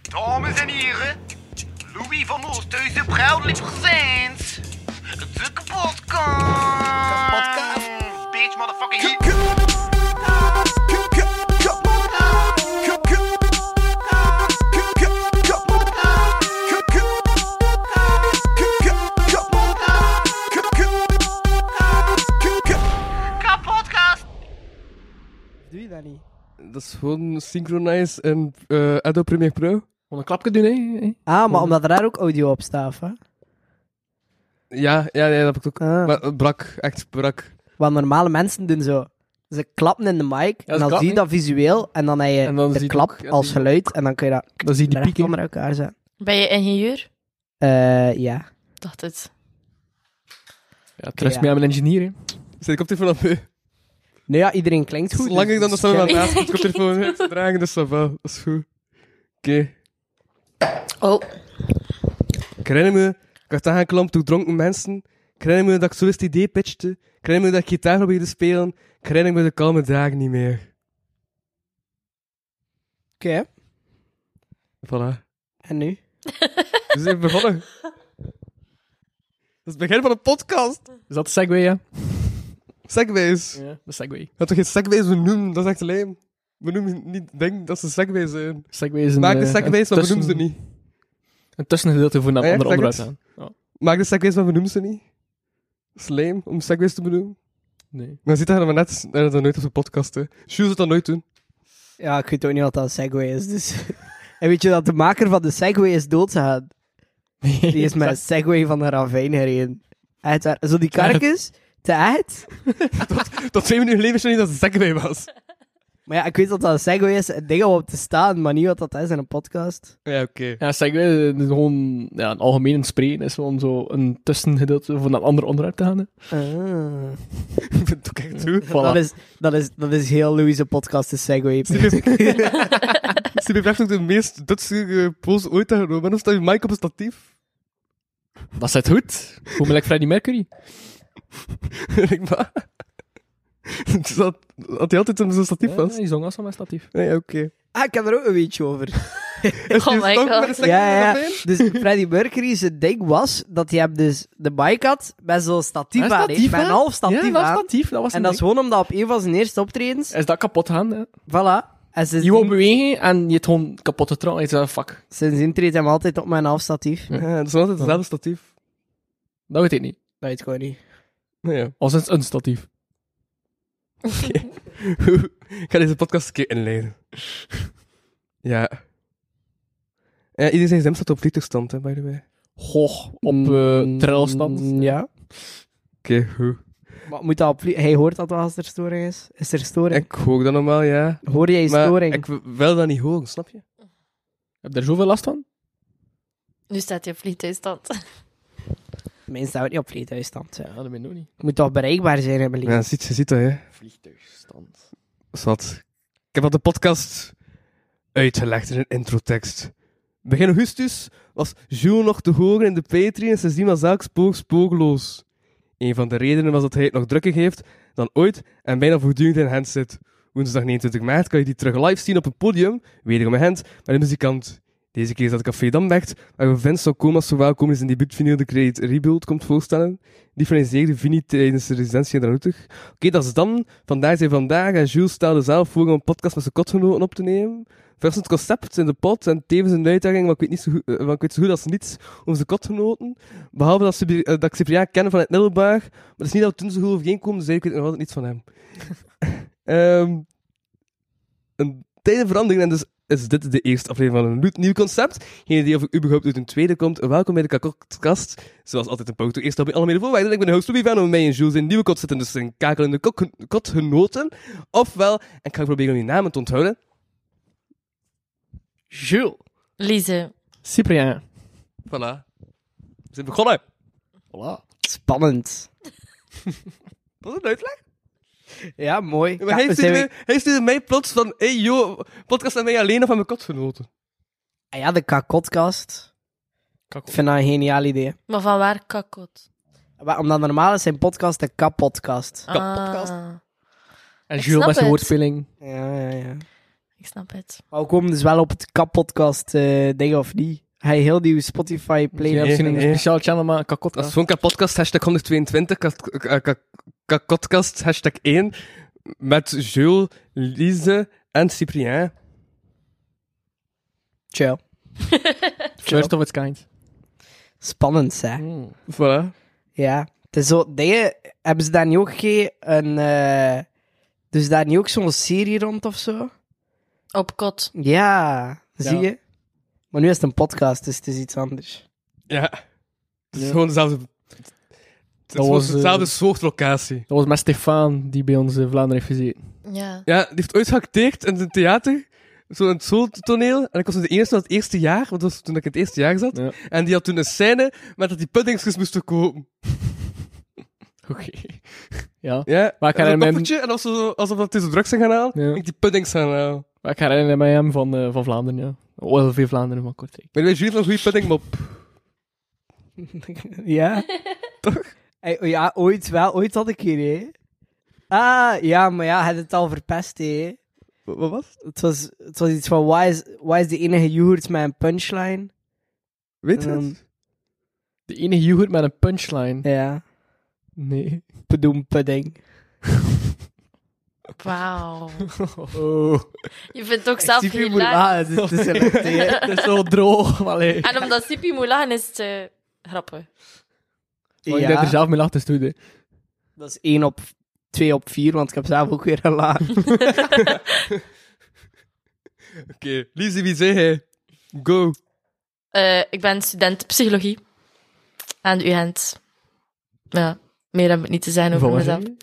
Dames en heren, Louis van Oosthuizen, proudly presents de kapotkast. Kapotkast. Bitch, motherfucking hit. Kapotkast. Doe je dat niet? Dat is gewoon Synchronize en eh Adobe Premiere Pro. Gewoon een klapje doen, hè? hè? Ah, maar omdat er daar ook audio op staat, hè? Ja, ja, ja, dat heb ik ook. Ah. Maar het brak, echt brak. Wat normale mensen doen zo. Ze klappen in de mic, en dan klappen, zie je dat visueel, en dan heb je En dan zie de je klap ook- ja, als die- geluid, en dan kun je dat Dan zie je die recht pieken. onder elkaar zetten. Ben je ingenieur? Eh, ja. Dacht het. Ja, trust Ja. me, I'm an engineer, hè? Zit ik op van op me? Nee, ja, iedereen klinkt goed. Langer dan de dus- stem van ja. naast. Ik heb telefoon niet te dragen, dus ça va. Dat is goed. Oké. Oh, Ik herinner me, ik had aangeklampt door dronken mensen. Ik herinner me dat ik zo eens het idee pitchte. Ik herinner me dat ik gitaar probeerde te spelen. Ik herinner me de kalme dagen niet meer. Oké, Voilà. Dus en nu? We zijn begonnen. Dat is het begin van een podcast. Is dat de Segway, ja? Segways. Ja, de Segway. Dat toch geen segways we noemen, dat is echt alleen. We noemen niet, denk dat ze segways zijn. Segway is een... Maak de eh, segways, een maar we noemen ze tussen- niet. Een tussengedeelte voor naar Ah, ja, ander zeg het. onderwerp aan. Ja. Maak de segways, maar we noemen ze niet. Dat is lame om segways te benoemen. Nee. Maar ziet dat maar net, eh, dat nooit op de podcast, hè. Sjoerd zou dat nooit doen. Ja, ik weet ook niet wat dat een Segway is, dus... en weet je dat de maker van de Segway is doodgegaan? Die is met een Segway van de ravijn gereden. Echt waar. Zo die karkens, te echt. Tot twee minuten geleden wist je niet dat het een segway was. Maar ja, ik weet dat dat een Segway is, het ding om op te staan, maar niet wat dat is in een podcast. Ja, oké. Ja, Segway eh, is gewoon... Ja, een algemeen spreken is gewoon zo een tussengedeelte voor naar een ander onderwerp te gaan, hè? Ah. Ik vind het ook echt toe. Dat, Voilà. is, dat, is, dat is heel Louis' podcast, de Segway. Ze heeft echt ook de meest Dutsige pose ooit aangenomen. Waarom staat je mic op een statief? Dat zit goed. Hoe me like Freddie Mercury. ik maar. Dus dat, had hij altijd zo'n statief Ja, Oh vast? die zong als van mijn statief. Nee, oké. ah, ik heb er ook een beetje over. Is Oh die my stonk God. met een segway Ja, ja, erin? ja. Dus Freddie Mercury, zijn ding was dat hij hem dus de bike had met zo'n statief Een aan. hè. statief Met een aan? half statief ja, dat was aan. statief. Dat was En een dat is ding. gewoon omdat op een van zijn eerste optredens, Is dat kapot gaan, hè? voilà. En sinds, Je wou bewegen en je hebt gewoon kapot getrokken. En je zei, fuck. sindsdien treedt hij hem altijd op met een half statief. Ja, dat is altijd hetzelfde statief. Dat weet ik niet. Dat weet ik gewoon niet. Nou ja. Als het een statief. ik ga deze podcast een keer inleiden. ja. Ja, iedereen zijn stem staat op vliegtuigstand, hè, by the way. Goh, op eh trailstand. Mm, Ja. Oké, hoe? Maar moet dat op vlie- Hij hoort dat wel als er storing is. Is er storing? Ik hoor dat normaal, ja. Hoor jij Maar storing? ik w- wil dat niet horen, snap je? Heb je er zoveel last van? nu staat je op vliegtuigstand. Mensen staan niet op vliegtuigstand. ja. Ja, dat ben ik nog niet. Moet toch bereikbaar zijn, hebben Ja, ziet, je ziet dat, hè. Vliegtuigstand. Zwat. Ik heb dat de podcast uitgelegd in een introtekst. Begin augustus dus, was Jules nog te horen in de Patreon en sindsdien was zaak spook spookloos. Een van de redenen was dat hij het nog drukker heeft dan ooit en bijna voortdurend in hand zit. Woensdag 29 maart kan je die terug live zien op het podium, wederom in hand, met een muzikant. Deze keer is dat Café Dambecht, waar we Vince Sokoma zo welkom is in die debuutvinyl de Create Rebuild komt voorstellen. Die finaliseerde Vini tijdens de residentie in Ranoetig. Oké, dat is dan. Vandaag zijn vandaag. En Jules stelde zelf voor om een podcast met zijn kotgenoten op te nemen. Verrassend concept in de pot en tevens een uitdaging, want ik weet, niet zo goed, eh, want ik weet zo goed als niets over zijn kotgenoten. Behalve dat, ze, eh, dat ik Cyprien ken van het middelbaar. Maar het is niet dat we toen zo goed overeenkomen, dus eigenlijk weet ik nog altijd niets van hem. Ehm een tijden verandering en dus is dit de eerste aflevering van een goed nieuw concept. Geen idee of ik überhaupt uit een tweede komt. Welkom bij de kakotkast. Zoals altijd een poging eerst op bij alle mede voorwaarden. Ik ben de host Louis van en mij en Jules in nieuwe kot zitten, dus een kakelende kok- kotgenoten. Ofwel, en ik ga proberen om die namen te onthouden. Jules. Lise. Cyprien. Voilà. We zijn begonnen. Voilà. Spannend. Dat is een uitleg. Ja, mooi. Maar Ja, hij, we zijn stuurde, hij stuurde mij plots van, hey yo, podcast aan mij alleen of aan mijn kotgenoten. Ah ja, de kakotkast. Kakko. Ik vind dat een geniaal idee. Maar van waar kakot? Maar omdat normaal is zijn podcast de kapodcast. Kapotkast. En Ik Jules snap met zijn het. woordspeling. Ja, ja, ja. Ik snap het. Maar we komen dus wel op het kappodcast eh ding of niet. Hij heel nieuw Spotify Je hebt playlist. misschien een nee. speciaal channel, maar kakot. Dat is gewoon kapotcast, hashtag 122, kat- eh, kak- kakotcast, hashtag 1, met Jules, Lise en Cyprien. Chill. First of its kind. Spannend, hè? Hmm. Voilà. Ja. Het is zo, dingen, hebben ze daar niet ook geen, een, eh, dus daar niet ook zo'n serie rond of zo? Op kot. Ja, zie Ja. je? Maar nu is het een podcast, dus het is iets anders. Ja. Het is Ja. gewoon dezelfde... Het is Dat gewoon was, eh, dezelfde soort locatie. Dat was met Stefan, die bij ons in Vlaanderen heeft gezeten. Ja. Ja, die heeft ooit geacteerd in een theater, zo in het soltoneel. En ik was in de eerste van het eerste jaar, want dat was toen ik in het eerste jaar zat. Ja. En die had toen een scène met dat die puddingsjes moesten kopen. Oké. Ja. Ja, Maar ik en zo'n herinner me- koffertje, en alsof, ze- alsof dat tussen drugs zijn gaan halen, Ja. ik die puddings gaan halen. Maar ik herinner mij hem van, eh, van Vlaanderen, ja. Oh, heel veel Vlaanderen van Kortrijk. Maar weet je niet van een goede puddingmop? ja? Toch? Hey, oh ja, ooit wel. Ooit had ik hier, hè? Ah, ja, maar ja, had het al verpest, hè? Wat wat was het? Het was, het was iets van, why is, why is de enige yoghurt met een punchline? Weet je Ehm, het? De enige yoghurt met een punchline. Ja, Nee. bedoem pudding. Wauw. Oh. Je vindt het ook zelf Sipi heel moet- laag. Ah, het is, het is gelukt, hè. Het is zo droog. Allee. En omdat Sipi moet lachen, is het eh, grappig. Maar ik ben er zelf mee lachen, dus doe dit. Dat is 1 op 2 op 4, want ik heb zelf ook weer een laag. Oké, okay. wie zei hij? Go. Eh, ik ben student psychologie aan de UGent. Ja, meer heb ik niet te zijn over Van waar mezelf. zijn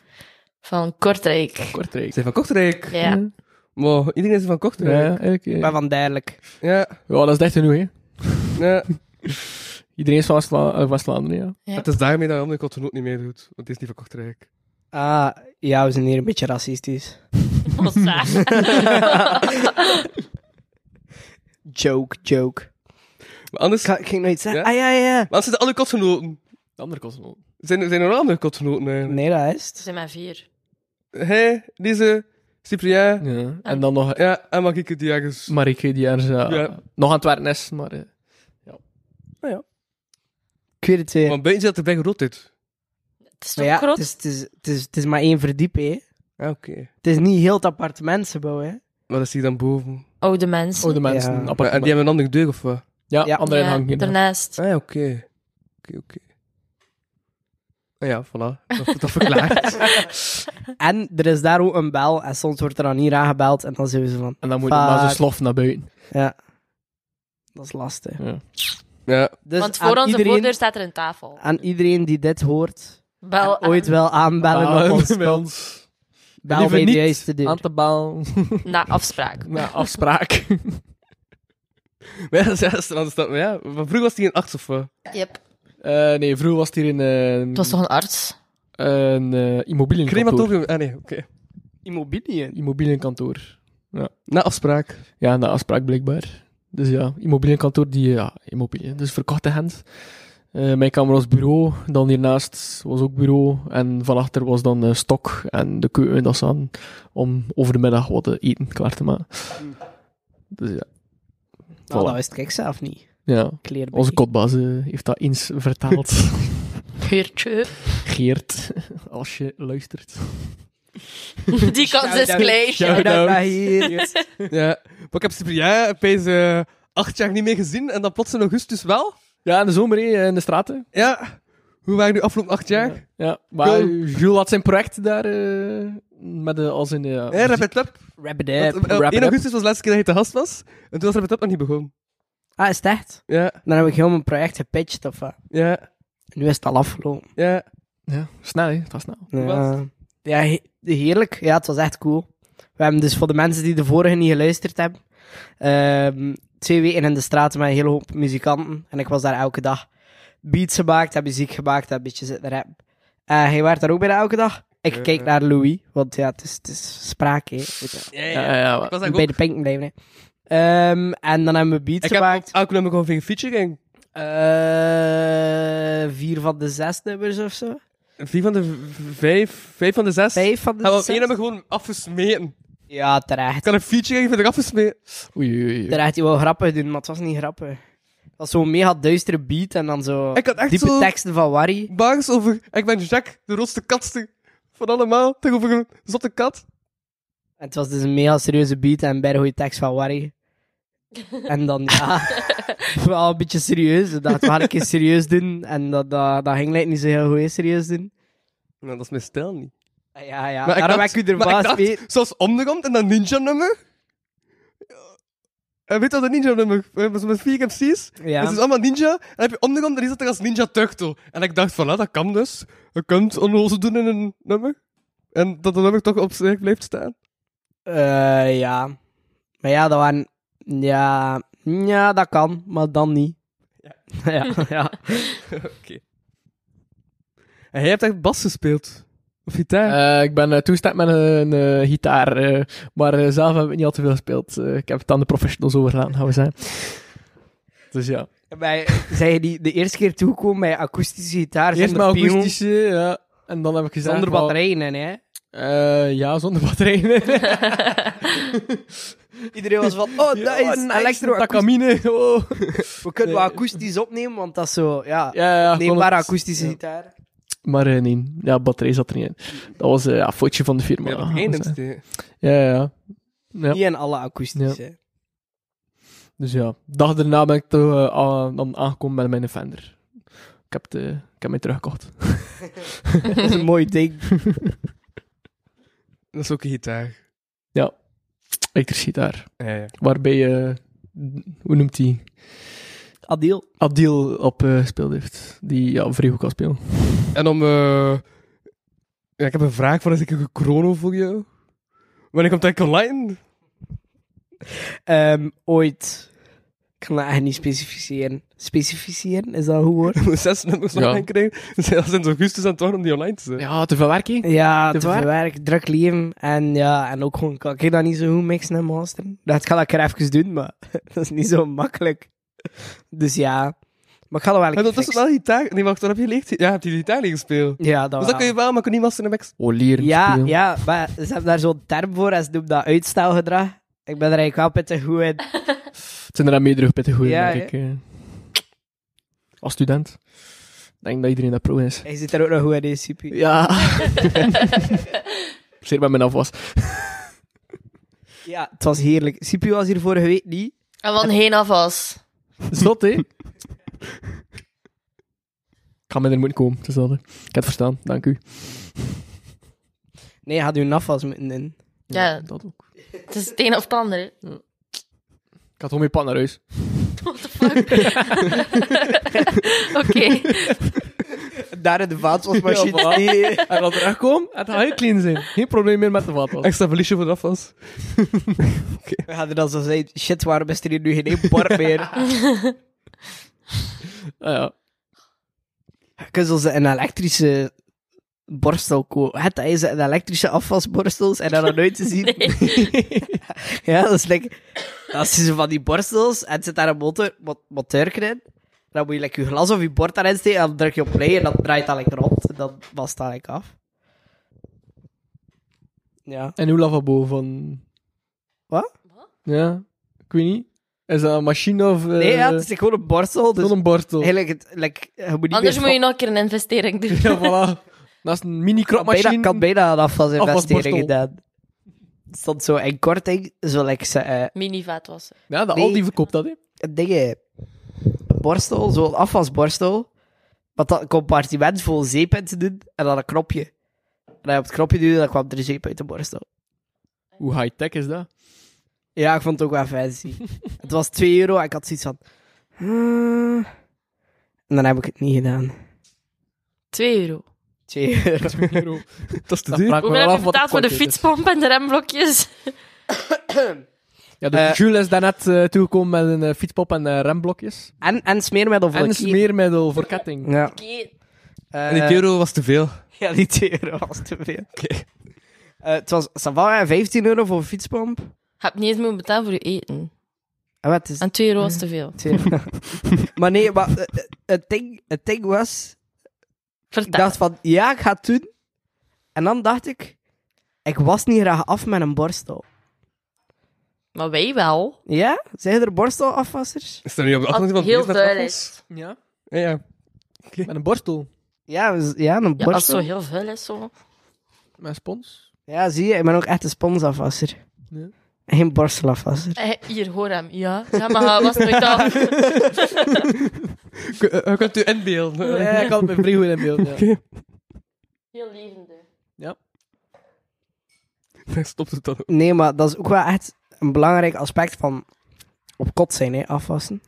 Van Kortrijk. Kortrijk. Zijn van Kortrijk. Ja. Wow, iedereen is van Ja, Kortrijk. eigenlijk, eh. Ik ben van derlijk. Ja, Ja, dat is echt genoeg, hè. ja. Iedereen is van West-Vla- eh, West-Vlaanderen, ja. Ja. Het is daarmee dat Jan de Cotton niet meedoet, want die is niet van Kortrijk. Ah, ja, we zijn hier een beetje racistisch. Wat saai. Joke, joke. Maar anders, Ik ga- ik ging nooit zeggen. Ja? Ah, ja, ja. maar anders zijn er andere kotgenoten. De andere kosmoot. Zijn, zijn er andere kotgenoten eigenlijk? Nee, dat is Er het. zijn maar vier. Hij, deze, Cyprien, Ja. Ah. En dan nog ja, en Marieke die ergens... Marieke, die ergens eh, Ja. nog aan het werken is, maar... eh, Ik weet het weer. Maar buiten dat er bij gerot dit. Het is Maar toch ja, groot? het is, het, is, het, is, het is maar één verdiep, hè. Ah, oké. Het is niet heel het appartementsgebouw, hè. Maar dat zie je dan boven. Oude Oh, mensen. Oude mensen, Ja. Maar, en appartement. die hebben een andere deur of wat? Ja, Ja. andere ja, ingang. inderdaad. daarnaast. Ah ja, oké. Oké, oké. Ah ja, voilà. Dat, dat verklaart. En er is daar ook een bel, en soms wordt er dan hier aangebeld, en dan zijn we zo van... En dan moet je maar zo Fuck. slof naar buiten. Ja. Dat is lastig. ja. Dus Want voor aan, onze iedereen, voordeur staat er een tafel. eh, aan iedereen die dit hoort, Bel en ooit wel aanbellen Ah, op ons bij spel, ons. bel Liever bij de niet juiste deur. Aan te bellen. aan- na afspraak. Naar afspraak. Maar ja, dat is- dat is dat is- maar ja, maar vroeger was die een arts of wat? Yep. Eh, nee, vroeger was het hier in een, ehm, Het was toch een arts? een eh, immobilienkantoor. Crematorium. Ah nee, oké. Immobiliën. Immobilienkantoor. Na afspraak. Ja, na afspraak blijkbaar. Dus ja, immobilienkantoor die, eh, ja, immobiliën. Dus verkochte hand. Eh, mijn kamer was bureau, dan hiernaast was ook bureau. En vanachter was dan eh, stok en de keuken, dat staan. Om over de middag wat te eten klaar te maken. Dus ja. Nou, Voilà. dat wist ik zelf niet. ja. Kleerbeek. Onze kotbaas eh, heeft dat eens vertaald. Geurtje. Geert, als je luistert. Die kans is Shout-out. klein. Shout-out Shout-out. naar hier. Ja. Maar ik heb Cyprien opeens eh, acht jaar niet meer gezien en dan plots in augustus wel. Ja, in de zomer hé, in de straten. Ja. Hoe waren nu afgelopen acht jaar? Ja, maar Cool. Jules had zijn project daar eh, met de, als in de... ja, Ja, Rabbit Lab. Wrap it Want, up. eh, Wrap 1 it up. augustus was de laatste keer dat hij te gast was. En toen was Rabbit Lab nog niet begonnen. Ah, is het echt? Ja, Dan heb ik heel mijn project gepitcht, of wat? ja, Nu is het al afgelopen. ja. ja, snel hè, het was snel. was Ja, ja he- heerlijk. Ja, het was echt cool. We hebben dus voor de mensen die de vorige niet geluisterd hebben, ehm, twee weken in de straten met een hele hoop muzikanten. En ik was daar elke dag. Beats gemaakt, heb muziek gemaakt, heb een beetje zitten rappen. En hij werd daar ook bijna elke dag. Ik Ja, keek ja. naar Louis, want ja, het is, het is spraak, hè. Weet je. Ja, Ja, ja, ja. Ik was daar Bij ook. de pink blijven, hè. Ehm, en dan hebben we beats Ah, Ik heb gemaakt. ook elke nummer gewoon via featuring. Eh, vier van de zes nummers of zo. Vier van de v- vijf, vijf van de zes. Vijf van de Hebben we op zes. één nummer gewoon afgesmeten. Ja, terecht. Ik kan een feature geven dat ik af is mee. Oei, oei, oei. Terecht, die wou grappig doen, maar het was niet grappig. Het was zo'n mega duistere beat en dan zo Ik had echt diepe zo teksten van Wari. baas over... Ik ben Jack, de rotste katste van allemaal. Tegenover een zotte kat. En het was dus een mega serieuze beat en bij de goede tekst van Wari. En dan, ja, wel een beetje serieus. Ik dacht, we gaan een keer serieus doen. En dat, dat, dat ging lijkt niet zo heel goed serieus doen. Nou, dat is mijn stijl niet. Ah, Ja, ja, Maar ik daarom dacht- heb ik u maar ik ervan dacht, gespeeld. Zoals omgekomt en dat ninja-nummer. En weet je wat dat ninja-nummer eh, was met vier MC's? Ja. Dat is allemaal ninja. En dan heb je omgekomt en die zat er als ninja turtle. En ik dacht, voilà, dat kan dus. Je kunt onnozel doen in een nummer. En dat dat nummer toch op zich blijft staan. Eh, ja. Maar ja, dat waren... Ja, ja, dat kan, maar dan niet. Ja, ja. En jij hebt echt bas gespeeld. Of gitaar. Eh, ik ben eh, toegestart met een eh, gitaar, eh, maar eh, zelf heb ik niet al te veel gespeeld. Eh, ik heb het aan de professionals overlaten, gaan we zeggen. Dus ja. Bij, zijn eh, je die de eerste keer toegekomen bij akoestische gitaar Eerst zonder maar pion, akoestische, ja. En dan heb ik gezegd... zonder wel, batterijen in, hè? eh, ja, zonder batterijen. Iedereen was van, oh, dat is nice, elektro Takamine, oh. We kunnen Nee. wel akoestisch opnemen, want dat is zo, ja, Ja, ja, gewoon neembare het- akoestische ja. gitaar. Maar eh, nee, ja, batterij zat er niet in. Dat was eh, ja, een foutje van de firma. ja, dat gaan we geen zeggen. MC's. ja, ja, ja. Ja. Niet in alle akoestische. Dus ja, dag daarna ben ik toch eh, a- dan aangekomen met mijn Fender. Ik heb, de, ik heb mij teruggekocht. Dat is een mooi ding. Dat is ook een gitaar. Elektrische gitaar. Ja, ja. Waarbij, eh, hoe noemt die? Adil. Adil op eh speelde heeft. Die ja, vrij goed kan spelen. En om... eh, ja, ik heb een vraag van een zekere chrono voor jou. Wanneer komt dat online? Ehm, ooit... Ik kan dat echt niet specificeren. Specificeren, is dat een goed woord? zes nummers Ja. online krijgen. Ze zijn sinds augustus aan het wachten om die online te zetten. Ja, te verwerking. Ja, te Te verwerken. verwerken, druk leven. En ja, en ook gewoon kan ik dat niet zo goed mixen en masteren. Dat ga ik er even doen, maar dat is niet zo makkelijk. Dus ja, maar ik ga dat wel En een dat keer is fixen. wel gitaar. Nee, wacht, dan heb je leeg. Ja, heb je die gitaar leeg gespeeld. Ja, dat Dus dat wel. kun je wel, maar kun je niet masteren en mixen. Oh, leren Ja, spelen. ja, maar ze hebben daar zo'n term voor en ze noemen dat uitstelgedrag. Ik ben er eigenlijk wel pittig goed in. Het zijn er aan meerdere pitten goeie, Ja, merk ik. eh. Als student. Ik denk dat iedereen dat pro is. Hij zit er ook nog goed in, CP. Ja. Zeer bij mijn afwas. Ja, het was heerlijk. CP was hier vorige week niet. En wat heen af was. Zot, hè? Ik ga met er moeten komen, het is dat, hè. Ik heb het verstaan, dank u. Nee, hij had uw nafas moeten in. Ja. Dat ook. Het is het een of het ander. hè. Ik had gewoon mijn pad naar huis. What the fuck? Oké. Daar in de vaatwasmachine. Ja, voilà. nee. En dan terugkom, en het gaat heel clean zijn. Geen probleem meer met de vaatwas. Extra verliesje voor de afwas. We hadden dan zo gezegd, shit, waarom is er hier nu geen één bord meer? Ah, ja. Je kunt ze een elektrische borstel kopen. Het is een elektrische afwasborstels en dan nog nooit te zien. ja, dat is lekker. Als je zo van die borstels en het zit daar een motor, mot- motorken in, dan moet je like, je glas of je bord daarin steken en dan druk je op play en dan draait dat lekker rond en dan was dat lekker af. Ja. En uw lavabo van... Wat? Ja, ik weet niet. Is dat een machine of... eh, Nee, ja, het is gewoon een borstel. Dus gewoon een bortel. eigenlijk, het, like, je moet niet Anders meer moet je nog een keer een investering doen. Ja, voilà. Dat is een Ik had bijna, mini-kropmachine. ik had bijna een afwasinvestering Afwasborstel. gedaan. Het stond zo in korting, zo like, ze, eh, Mini vaatwassen. Ja, de Nee. Aldi verkoopt dat, hè. dingen. Borstel, zo'n afwasborstel. Wat dat een compartiment vol zeep in te doen en dan een knopje. En als je op het knopje duwde, dan kwam er zeep uit de borstel. Hoe high-tech is dat? Ja, ik vond het ook wel fancy. het was 2 euro en ik had zoiets van. hmm. En dan heb ik het niet gedaan. 2 euro. 2 euro. Dat is te Dat vraag duur. ik me wel Hoeveel heb af je wat betaald voor de dus. korting is. fietspomp en de remblokjes? Ja, dus Eh, Jules is daarnet eh, toegekomen met een eh, fietspop en eh, remblokjes. En, en smeermiddel voor En de een kie. smeermiddel voor ketting. Ja. Oké. Eh, En die euro was te veel. Ja, die 2 euro was te veel. Oké. Eh, het was Savara 15 euro voor een fietspomp. Heb niet eens moeten betalen voor je eten. En wat is En 2 euro was te veel. Twee- maar nee, maar eh, eh, het ding, het ding was, ik Vertel. dacht van, ja, ik ga het doen. En dan dacht ik, ik was niet graag af met een borstel. Maar wij wel. Ja? Zijn er borstelafwassers? Is dat nu op de achtergrond van het heel beest met duidelijk. afwas? Ja. Ja, ja. Met een borstel. Ja, we- ja een Ja, borstel. als het zo heel vuil is, zo. Met een spons. Ja, zie je, ik ben ook echt een sponsafwasser. Ja. Geen borselafwasser. Eh, Hier, hoor hem. Ja, ja maar hij was nooit K- af. eh, Je kunt u inbeelden. Ja, ik had mijn vriend in beeld. Ja. Heel levendig. Dan stopt het dan ook. Nee, maar dat is ook wel echt een belangrijk aspect van op kot zijn, hè, afwassen.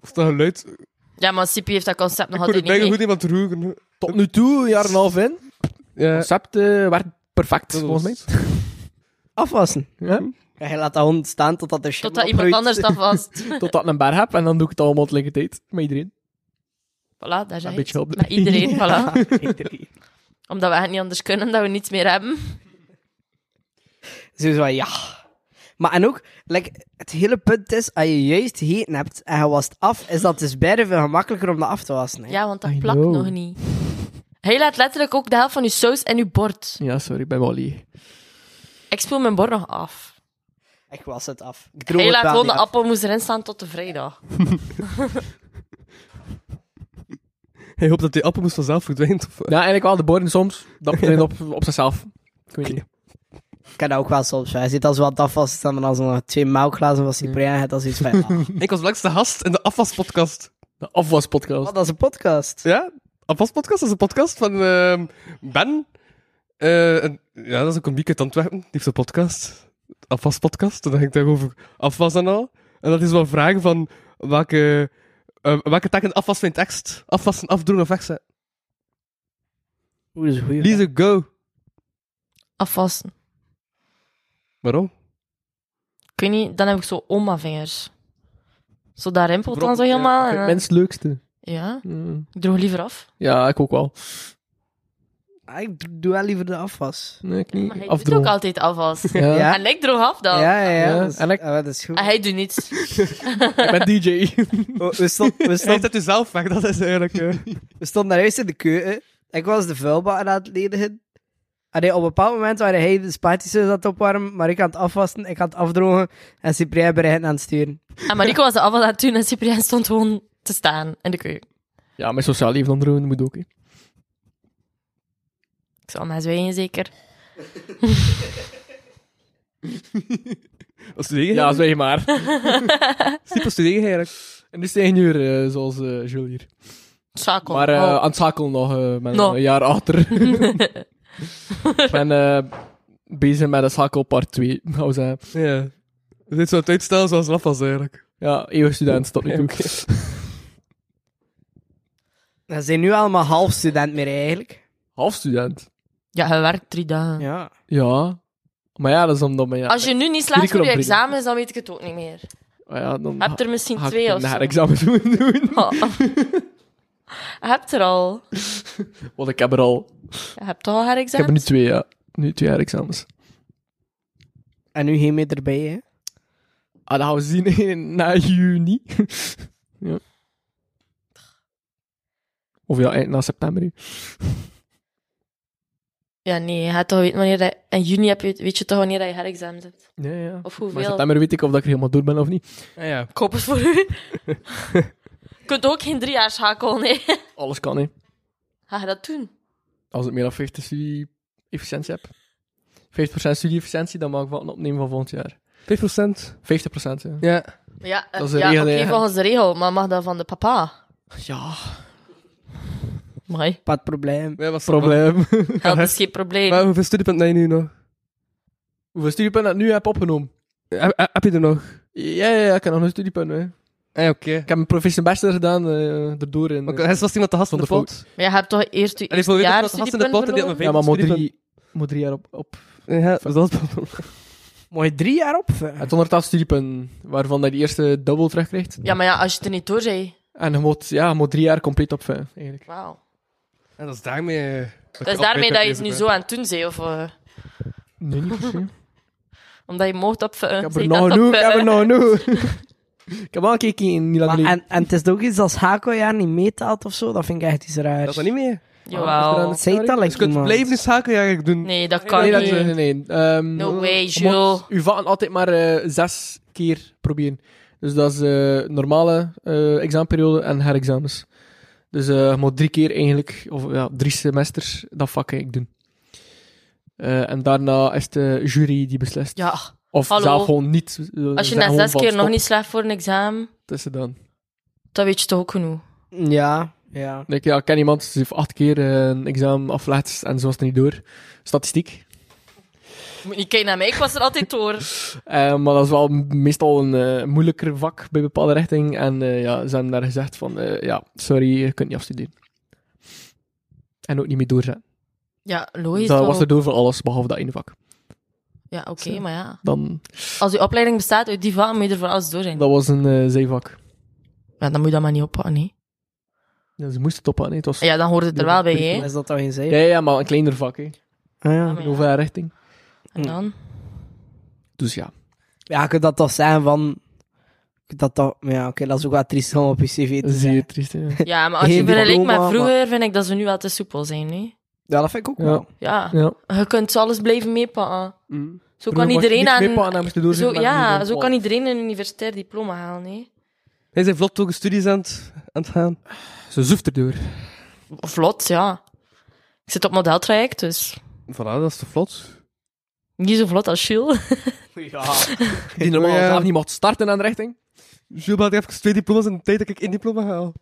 Of dat geluid. Ik Ja, maar Sipi heeft dat concept nog kon het altijd bijna niet. goed mee. iemand roeren. Tot nu toe, een jaar en een half in. Het Ja. concept eh, werkt perfect, Dat volgens mij. was- Afwassen. Ja. Ja, je laat dat hond staan totdat er schimmel Totdat iemand opgroeit. anders dat vast. Totdat ik een bar heb en dan doe ik het allemaal tegelijkertijd. Met iedereen. Voilà, daar zijn beetje hulp Met erbij. iedereen, voilà. Iedereen. Omdat we het niet anders kunnen, dat we niets meer hebben. Sowieso van, ja. Maar en ook, like, het hele punt is, als je juist heten hebt en je wast af, is dat dus bijna veel gemakkelijker om dat af te wassen. Hè? Ja, want dat I plakt know. nog niet. Hij laat letterlijk ook de helft van uw saus en uw bord. Ja, sorry, ik ben wel leeg. Ik spoel mijn bord nog af. Ik was het af. Ik droog Hij het laat wel gewoon de niet af. appelmoes erin staan tot de vrijdag. Hij hoopt dat die appelmoes vanzelf verdwijnt. Of... Ja, eigenlijk wel, de borden soms. Dat verdwijnt op, op zichzelf. Ik weet niet. Ik kan dat ook wel soms. Hè. Zit als wat afwas, is, dan als nog twee melkglazen van Cyprien hebt, als iets van... ah. Ik was langs de gast in de afwaspodcast. De afwaspodcast. Wat, dat is een podcast. Ja? Afwaspodcast is een podcast van ehm, Ben. Eh, een- ja, dat is een komiek uit Antwerpen. Die heeft een podcast. Afwaspodcast. En dan ging ik daarover afwas en al. En dat is wel vragen van welke, eh, welke tak in de afwas vindt tekst. Afwassen, afdoen of wegzetten. Oeh, dat is een goeie. Lise, go. Afwassen. Waarom? Ik weet niet, dan heb ik zo oma-vingers. Zo, daar rimpelt dan zo Brok, ja. helemaal. en Het dan- mens leukste. Ja, Mm. ik droog liever af. Ja, ik ook wel. Ah, Ik doe wel liever de afwas. Nee, ik Maar hij niet. doet ook Afdrogen. altijd afwas. Ja. Ja. En ik droog af dan. Ja, ja, ja. Ja, dat is- en ik- ah, dat is goed. En hij doet niets. Ik ben DJ. We, we stond- we, Hij stond, zet u zelf weg, dat is eigenlijk... eh, we stonden daar juist in de keuken. Ik was de vuilbak aan het ledigen. En nee, op een bepaald moment waren hij de spaghetti aan het opwarmen, maar ik aan het afwassen, ik aan het afdrogen en Cyprien bereid aan het sturen. En Mariko Ah, was de afwas aan het doen en Cyprien stond gewoon te staan in de keuken. Ja, mijn sociaal leven onderdrogen moet ook. hè. Ik zal maar zwijgen, zeker. Wat studeer je? Ja, Ja, zeg maar. super studeer je eigenlijk. Industrieel uur zoals eh Jules hier. Schakel. Maar eh, Oh. aan het schakelen nog, eh ben Nog. een jaar achter. Ik ben eh, bezig met een schakel part 2. Nou, zeggen. Ja. Dit zou het uitstellen zoals laf was eigenlijk. Ja, eeuwig student, tot nu toe. Ze zijn nu allemaal half student meer eigenlijk. Half student. Ja, hij werkt drie dagen. Ja. Ja. Maar ja, dat is omdat mijn... Ja, Als je nu niet slaat voor Curriculum je brengen. examens, dan weet ik het ook niet meer. Ah ja, dan Heb er misschien ga ik twee een of zo. herexamen moeten doen. Oh. Heb er al. Want ik heb er al... Je hebt al haar Ik heb er nu examens? twee, ja. Nu twee herexamens. En nu geen meer erbij, hè. Ah, dat gaan we zien in- na juni. ja. Of ja, eind na september. hè. Ja, nee. Je hebt toch weet wanneer dat... In juni heb je, weet je toch wanneer dat je haar examens hebt? Ja, ja. Of Maar in hoeveel? september weet ik of dat ik er helemaal door ben of niet. Ja, ja. Ik hoop het voor u. je kunt ook geen drie jaar schakelen, nee. Alles kan, hè. Ga je dat doen? Als het meer dan 50 studie-efficiëntie heb. 50% studie-efficiëntie, dan mag ik van het opnemen van volgend jaar. 5%. 50%, ja. Ja. Maar Ja, eh, Dat is de ja regel, oké, hè. volgens de regel. Maar mag dat van de papa? Ja, Mooi. Wat probleem. ja was probleem. Dat is geen probleem. Maar hoeveel studiepunten heb je nu nog? Hoeveel studiepunten ik nu heb opgenomen? Heb, heb- heb je er nog? Ja, ja, ja, ik heb nog een studiepunt, hè. Eh, oké. Ik heb mijn professional bachelor gedaan, eh erdoor. In, Want Hij was iemand te gast van Van de de pot. Maar je hebt toch eerst je En die eerste voorbeeld jaar was gast in de pot en die had studiepunten een ja, maar moet studiepunt. drie, moet drie jaar op, op Ja, dat was het probleem. Mooi drie jaar opvuren. Het 180 studiepunten, waarvan dat je eerste dubbel terugkrijgt. Ja, maar ja, als je het er niet door zei... En je moet, ja, je moet drie jaar compleet op vijf, eigenlijk. Wauw. En dat is daarmee... eh, Dat is ik daarmee op- dat je het nu bezig zo aan het doen bent, of... eh, Nee, niet per se. Ik omdat je mocht op... eh, Ik heb er nog genoeg, ik heb er nog genoeg. ik heb al gekeken in Milan Maar, Lee. en, en het is ook iets als Hako jaar niet meetaalt of zo, dat vind ik echt iets raars. bent. Dat is dat niet meer. Jawel. Is er Zij dat Je kunt blijven zaken eigenlijk doen. Nee, dat aan- kan Nee, dat- niet. nee, nee. nee. Ehm, No way, je Jules. moet uw vaten altijd maar eh, zes keer proberen. Dus dat is eh, normale eh, examenperiode en herexamens. Dus eh, je moet drie keer eigenlijk, of ja, drie semesters, dat vak eigenlijk doen. Eh, en daarna is de jury die beslist. Ja, of hallo. zelf gewoon niet. eh, als je zeggen na gewoon zes van keer nog stop, niet slaagt voor een examen, het is het dan. dan weet je toch ook genoeg. Ja, ja. Ik, ja, ik ken iemand, ze heeft acht keer eh, een examen afgelegd en ze was er niet door. Statistiek. Moet niet kijken naar mij, ik was er altijd door. Eh, maar dat is wel m- meestal een eh, moeilijker vak bij bepaalde richting. En eh, ja, ze hebben daar gezegd van, eh, ja, sorry, je kunt niet afstuderen. En ook niet meer doorzetten. Dus Ja, Dat logisch. wel. was er door voor alles, behalve dat ene vak. Ja, oké, Zo. maar ja. Dan, Als je opleiding bestaat uit die vakken, moet je er voor alles door zijn. dat was een eh zijvak. Ja, dan moet je dat maar niet oppakken, hè. Ja, ze moesten toppen, nee, het was... Ja. Ja, dan hoort het er wel bij, hè. Is dat dan geen zee? Ja, maar een kleiner vak, hè. Ah, Ja, ja. maar In ja. hoeverre richting. En dan? Dus ja. ja, je kunt dat toch zijn van... je kunt Dat toch, ja, oké, dat is ook wat triest om op je cv te zeggen. Zeer triest, hè. Ja, maar als Geen je vergelijkt diploma, met vroeger, vind ik dat ze nu wel te soepel zijn, hè. Ja, dat vind ik ook Ja. wel. Ja, Ja. je kunt alles blijven meepakken. Mm. Zo Vroeger kan mocht je iedereen niks aan... meepakken en moest je doorzetten zo, met een ja, niveau zo kan 12. iedereen een universitair diploma halen, hè. Hij zijn vlot toch studies aan het, aan het gaan. Ze zoeft erdoor. Vlot, ja. Ik zit op modeltraject, dus Voilà, dat is te vlot. niet zo vlot als Jules. Die normaal Maar ja. zelf niet mocht starten aan de richting. Jules had even twee diploma's in de tijd dat ik één diploma haal.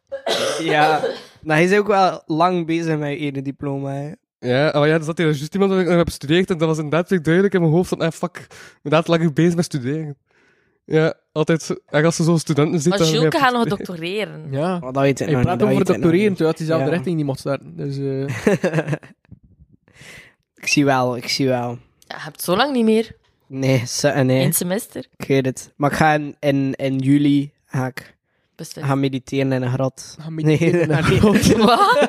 Ja. Nou, hij is ook wel lang bezig met je ene diploma, hè. Ja, maar ja, er zat hier juist iemand dat ik nog heb gestudeerd en dat was inderdaad natuurlijk duidelijk in mijn hoofd van, eh, fuck, ik ben daar te lang bezig met studeren. Ja, altijd, zo- en als ze zo'n studenten ziet, Maar dan... Jules ja, gaat nog doctoreren. Ja. Maar dat weet ik Ik nog niet, praat dat over weet ik nog doctoreren, niet. terwijl hij zelf de Ja. richting niet mocht starten. Dus... eh, Ik zie wel, ik zie wel. Ja, je hebt zo lang niet meer. Nee, se- nee, Eén semester. ik weet het. Maar ik ga in, in, in juli ga ik Beslist. gaan mediteren in een grot. Gaan mediteren in een nee. Wat?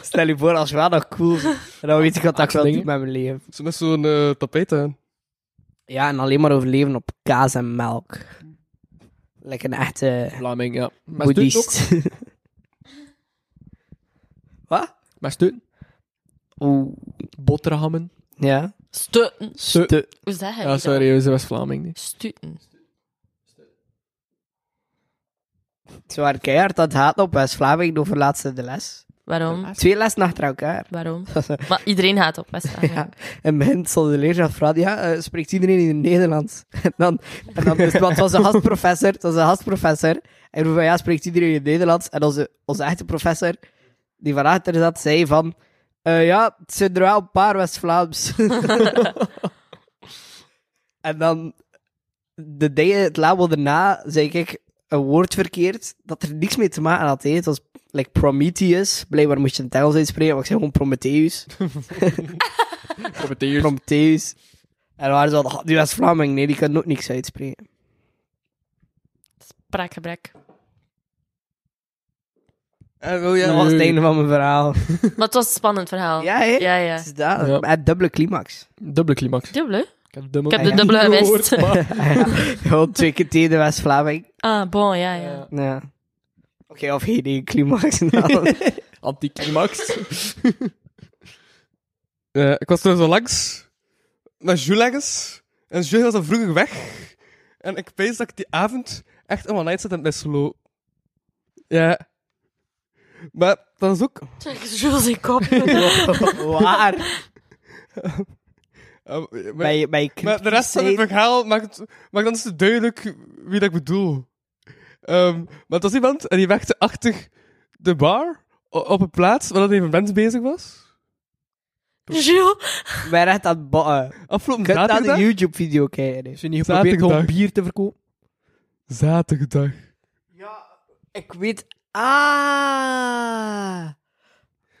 Stel je voor, als wel nog cool. En dan weet ik wat dat ik wel doe met Dingen. mijn leven. Zo met zo'n eh, tapijt aan. Ja, en alleen maar overleven op kaas en melk. Lekker een echte Vlaming, ja. Met steun ook? boeddhist. Wat? Met steun. Oeh. Boterhammen. Ja. Stuten. Steun. Ste- Hoe zeg je Ja, dat? Ah, sorry, we zijn West-Vlaming. nee. Stuten. Ze waren keihard aan het haten op West-Vlaming over laatste de les. Waarom? Twee lessen achter elkaar. Waarom? Maar iedereen gaat op West. Ja. En begint zal de leerkracht vragen, ja, eh, spreekt iedereen in het Nederlands? En dan, en dan is het, want het was een gastprofessor, het was een gastprofessor. En we van, ja, spreekt iedereen in het Nederlands? En onze, onze echte professor, die van achter zat, zei van, eh, ja, het zijn er wel een paar West-Vlaams. en dan, de day, het label daarna, zei ik een woord verkeerd, dat er niks mee te maken had. hè. Het was like Prometheus, blijkbaar moest je een Engels uitspreken, maar ik zei gewoon Prometheus. Dus- Prometheus. Prometheus. En waar ze al, die was Vlaming, nee, die kan ook niks uitspreken. Spraakgebrek. En wil Dat jij... was het einde van mijn verhaal. Maar het was een spannend verhaal. Ja, hè? Ah. Ja, ja. Het is dat. Ja. Met dubbele climax. Dubbele climax. Dubbele? Ik heb, dubbel... Ik heb de niet dubbele gemist. gehoord, maar- Gewoon twee keer tegen de West-Vlaming. Ah, bon, ja, ja. Ja. Oké, of geen één climax. nou. Anticlimax. Eh, ik was toen zo langs, met Jules ergens, en Jules was dan vroeger weg. En ik pees dat ik die avond echt een one-night zat in Messelo. Ja. Maar dat is ook... Check Jules in kop. waar? eh, maar- Bij, bij Maar de rest van het verhaal maakt, maakt dan te duidelijk wie dat ik bedoel. Ehm, maar het was iemand en die werkte achter de bar o- op een plaats waar dat even mens bezig was. Jules. Wij recht aan het botten. Afgelopen Je kunt aan de zaterdag. YouTube-video kijken. dus. Als je niet geprobeerd Zaterdag. om bier te verkopen. Zaterdag. Ik weet... Ah! Maar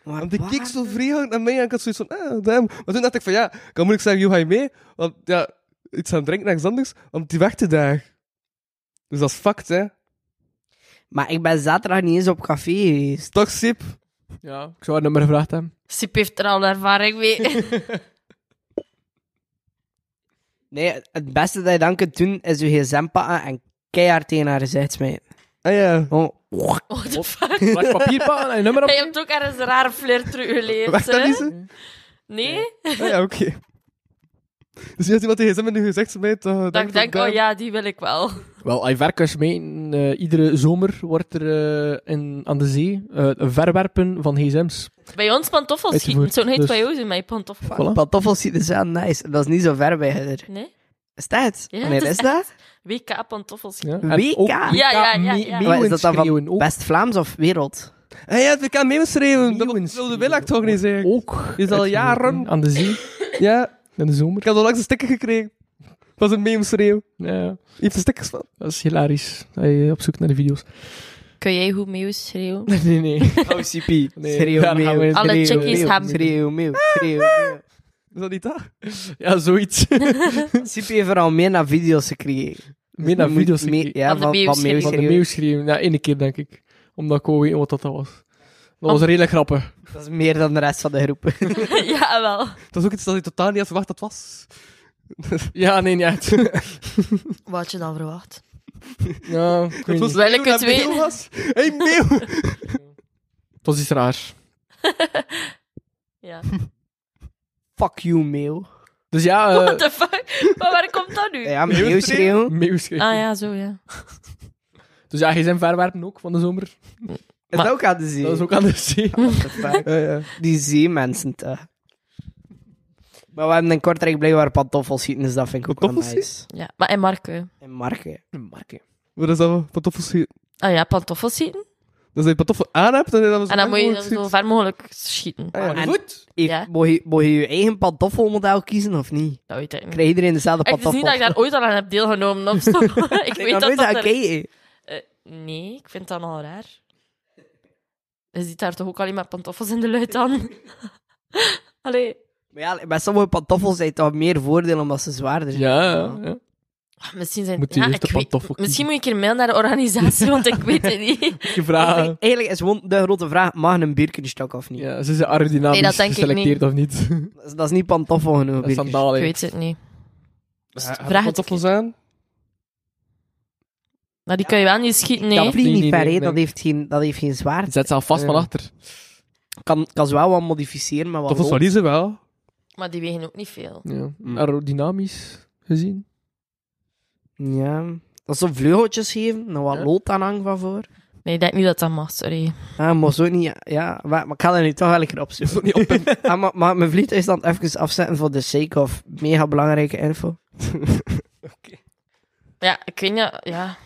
Want die keek zo vreemd naar mij en ik had zoiets van, ah, damn. Maar toen dacht ik van, ja, ik kan moeilijk zeggen, joh, ga je mee? Want ja, iets aan drinken, niks anders. Want die werkte daar. Dus dat is fucked, hè. Maar ik ben zaterdag niet eens op café geweest. Toch, Sip? Ja, ik zou haar nummer gevraagd hebben. Sip heeft er al ervaring mee. Nee, het beste dat je dan kunt doen is je gsm pakken en keihard tegen haar gezicht smijten. Ah ja. Oh, What the fuck? Laat papierpakken en je nummer op. Jij hebt ook ergens een rare flirt terug Wacht, geleerd, dat hè? is ze? Nee? Ah ja, oké. Dus je had iemand tegen gsm nu gezegd ze mij toch... Dat ik denk, oh ja, die wil ik wel. Wel, Ayverkers meen, eh, iedere zomer wordt er eh, in, aan de zee eh, een verwerpen van gsm's. Bij ons pantoffels schieten. Uitgevoerd, Zo'n heet dus- bij jou zijn, maar je pantoffels. Voilà. Pantoffels zien er zo nice. En dat is niet zo ver bij er. Nee? Is dat? Ja, Wanneer het is is dat? WK pantoffels. Ja. WK? En ook Ja, ja, ja, mee- ja. meeuwen Maar is dat dan van schreeuwen ook. West-Vlaams of wereld? Ah ja, het WK meeuwenschreeuwen. Dat Meeuwenschreeuwen. wilde Willacht organiseren. Ook. Oh. Is al uitgevoerd jaren. Aan de zee, Ja, in de zomer. ik had al langs een sticker gekregen. Dat was een meeuwenschreeuw. Ja, Je hebt er stickers van. dat is hilarisch. Hij eh, op zoek naar de video's. Kun jij goed meeuw schreeuwen? nee, nee. OCP. Nee, Schreeuw, daar gaan we meeuw. niet. Alle schreeuw, chickies Ah, meeuw, hebben- Schreeuw, meeuw. Schreeuw, meeuw. Is dat niet dat? Ja, zoiets. OCP heeft vooral meer naar video's gekregen. Meer naar Moet- video's meer- gekeken. Ja, Van de van, meeuw van meeuw Van de schreeuwen. meeuw schreeuwen. Ja, één keer denk ik. Omdat ik wou weten wat dat was. Dat was Am- redelijk grappig. Dat is meer dan de rest van de groep. ja, wel. Dat is ook iets dat ik totaal niet had verwacht dat was. Ja, nee, niet echt. Wat had je dan verwacht? ja, ik weet Dat niet. was Wil ik meeuw het dat meeuw weten? was. hey, meeuw! Het was iets raars. Ja. Fuck you, meeuw. Dus ja, What eh the fuck? Maar waar komt dat nu? Ja, meeuw schreeuwen. meeuw schreeuwen. Ah ja, zo ja. Dus ja, gsm verwerpen ook van de zomer. Is dat ook aan de zee? Dat is ook aan de zee. What the fuck? Ja, ja. Die zeemensen te. Maar we hebben in Kortrijk blijkbaar pantoffels schieten, dus dat vind ik ook wel Pantoffels nice. ja. Maar en eh. Marke? En Marken. Wat is dat? wel? Pantoffels schieten. Ah ja, pantoffels schieten. Dus als je pantoffel aan hebt, dan, dan, En Ah, dan moet je zo ver mogelijk schieten. Ah, ja. En- Goed. Heeft- Ja. Mocht je, mocht je je eigen pantoffelmodel kiezen of niet? Dat weet ik niet. Krijgt iedereen dezelfde Echt, het is pantoffel? niet dat ik daar ooit al aan heb deelgenomen of zo. ik Ik weet dat nog nooit dat aan er- gekeken. Eh, nee, ik vind dat nogal raar. Je ziet daar toch ook alleen maar pantoffels in de luid aan? Allee. Maar ja, bij sommige pantoffels zijn toch meer voordeel omdat ze zwaarder zijn. Ja, ja, ja. Ah, Misschien zijn Moet je ja, eerst de ik weet- pantoffel kiezen. Misschien moet ik hier mail naar de organisatie, want ik weet het niet. Je vraagt, Eigenlijk is gewoon de grote vraag, mag een Birkenstock of niet? ja, ze zijn aerodynamisch Nee, dat denk ik geselecteerd of niet. Dat, is, dat is niet pantoffel genoeg, Dat is Birkenstock. sandaal, Ik hè. weet het niet. Vraag het pantoffels aan. Maar die kan je wel niet schieten, nee. Dat vliegt Nee, niet nee, per, nee, hè. dat, nee. heeft geen, dat heeft geen zwaard. Zet ze al vast Ja. van achter. Kan, kan ze wel wat modificeren, maar wat Pantoffels van loopt. Lise wel. Maar die wegen ook niet veel. Ja. Aerodynamisch gezien. Ja. Als ze vleugeltjes geven, dan wat Ja. lood aan hangt van voor. Nee, ik denk niet dat dat mag, sorry. Ah, maar zo niet... Ja, maar, maar ik ga er nu toch wel een keer op zoeken. Niet op een- Ah, maar, maar mijn vliegtuigstand even afzetten voor de sake of mega belangrijke info. Ja, ik weet niet, ja.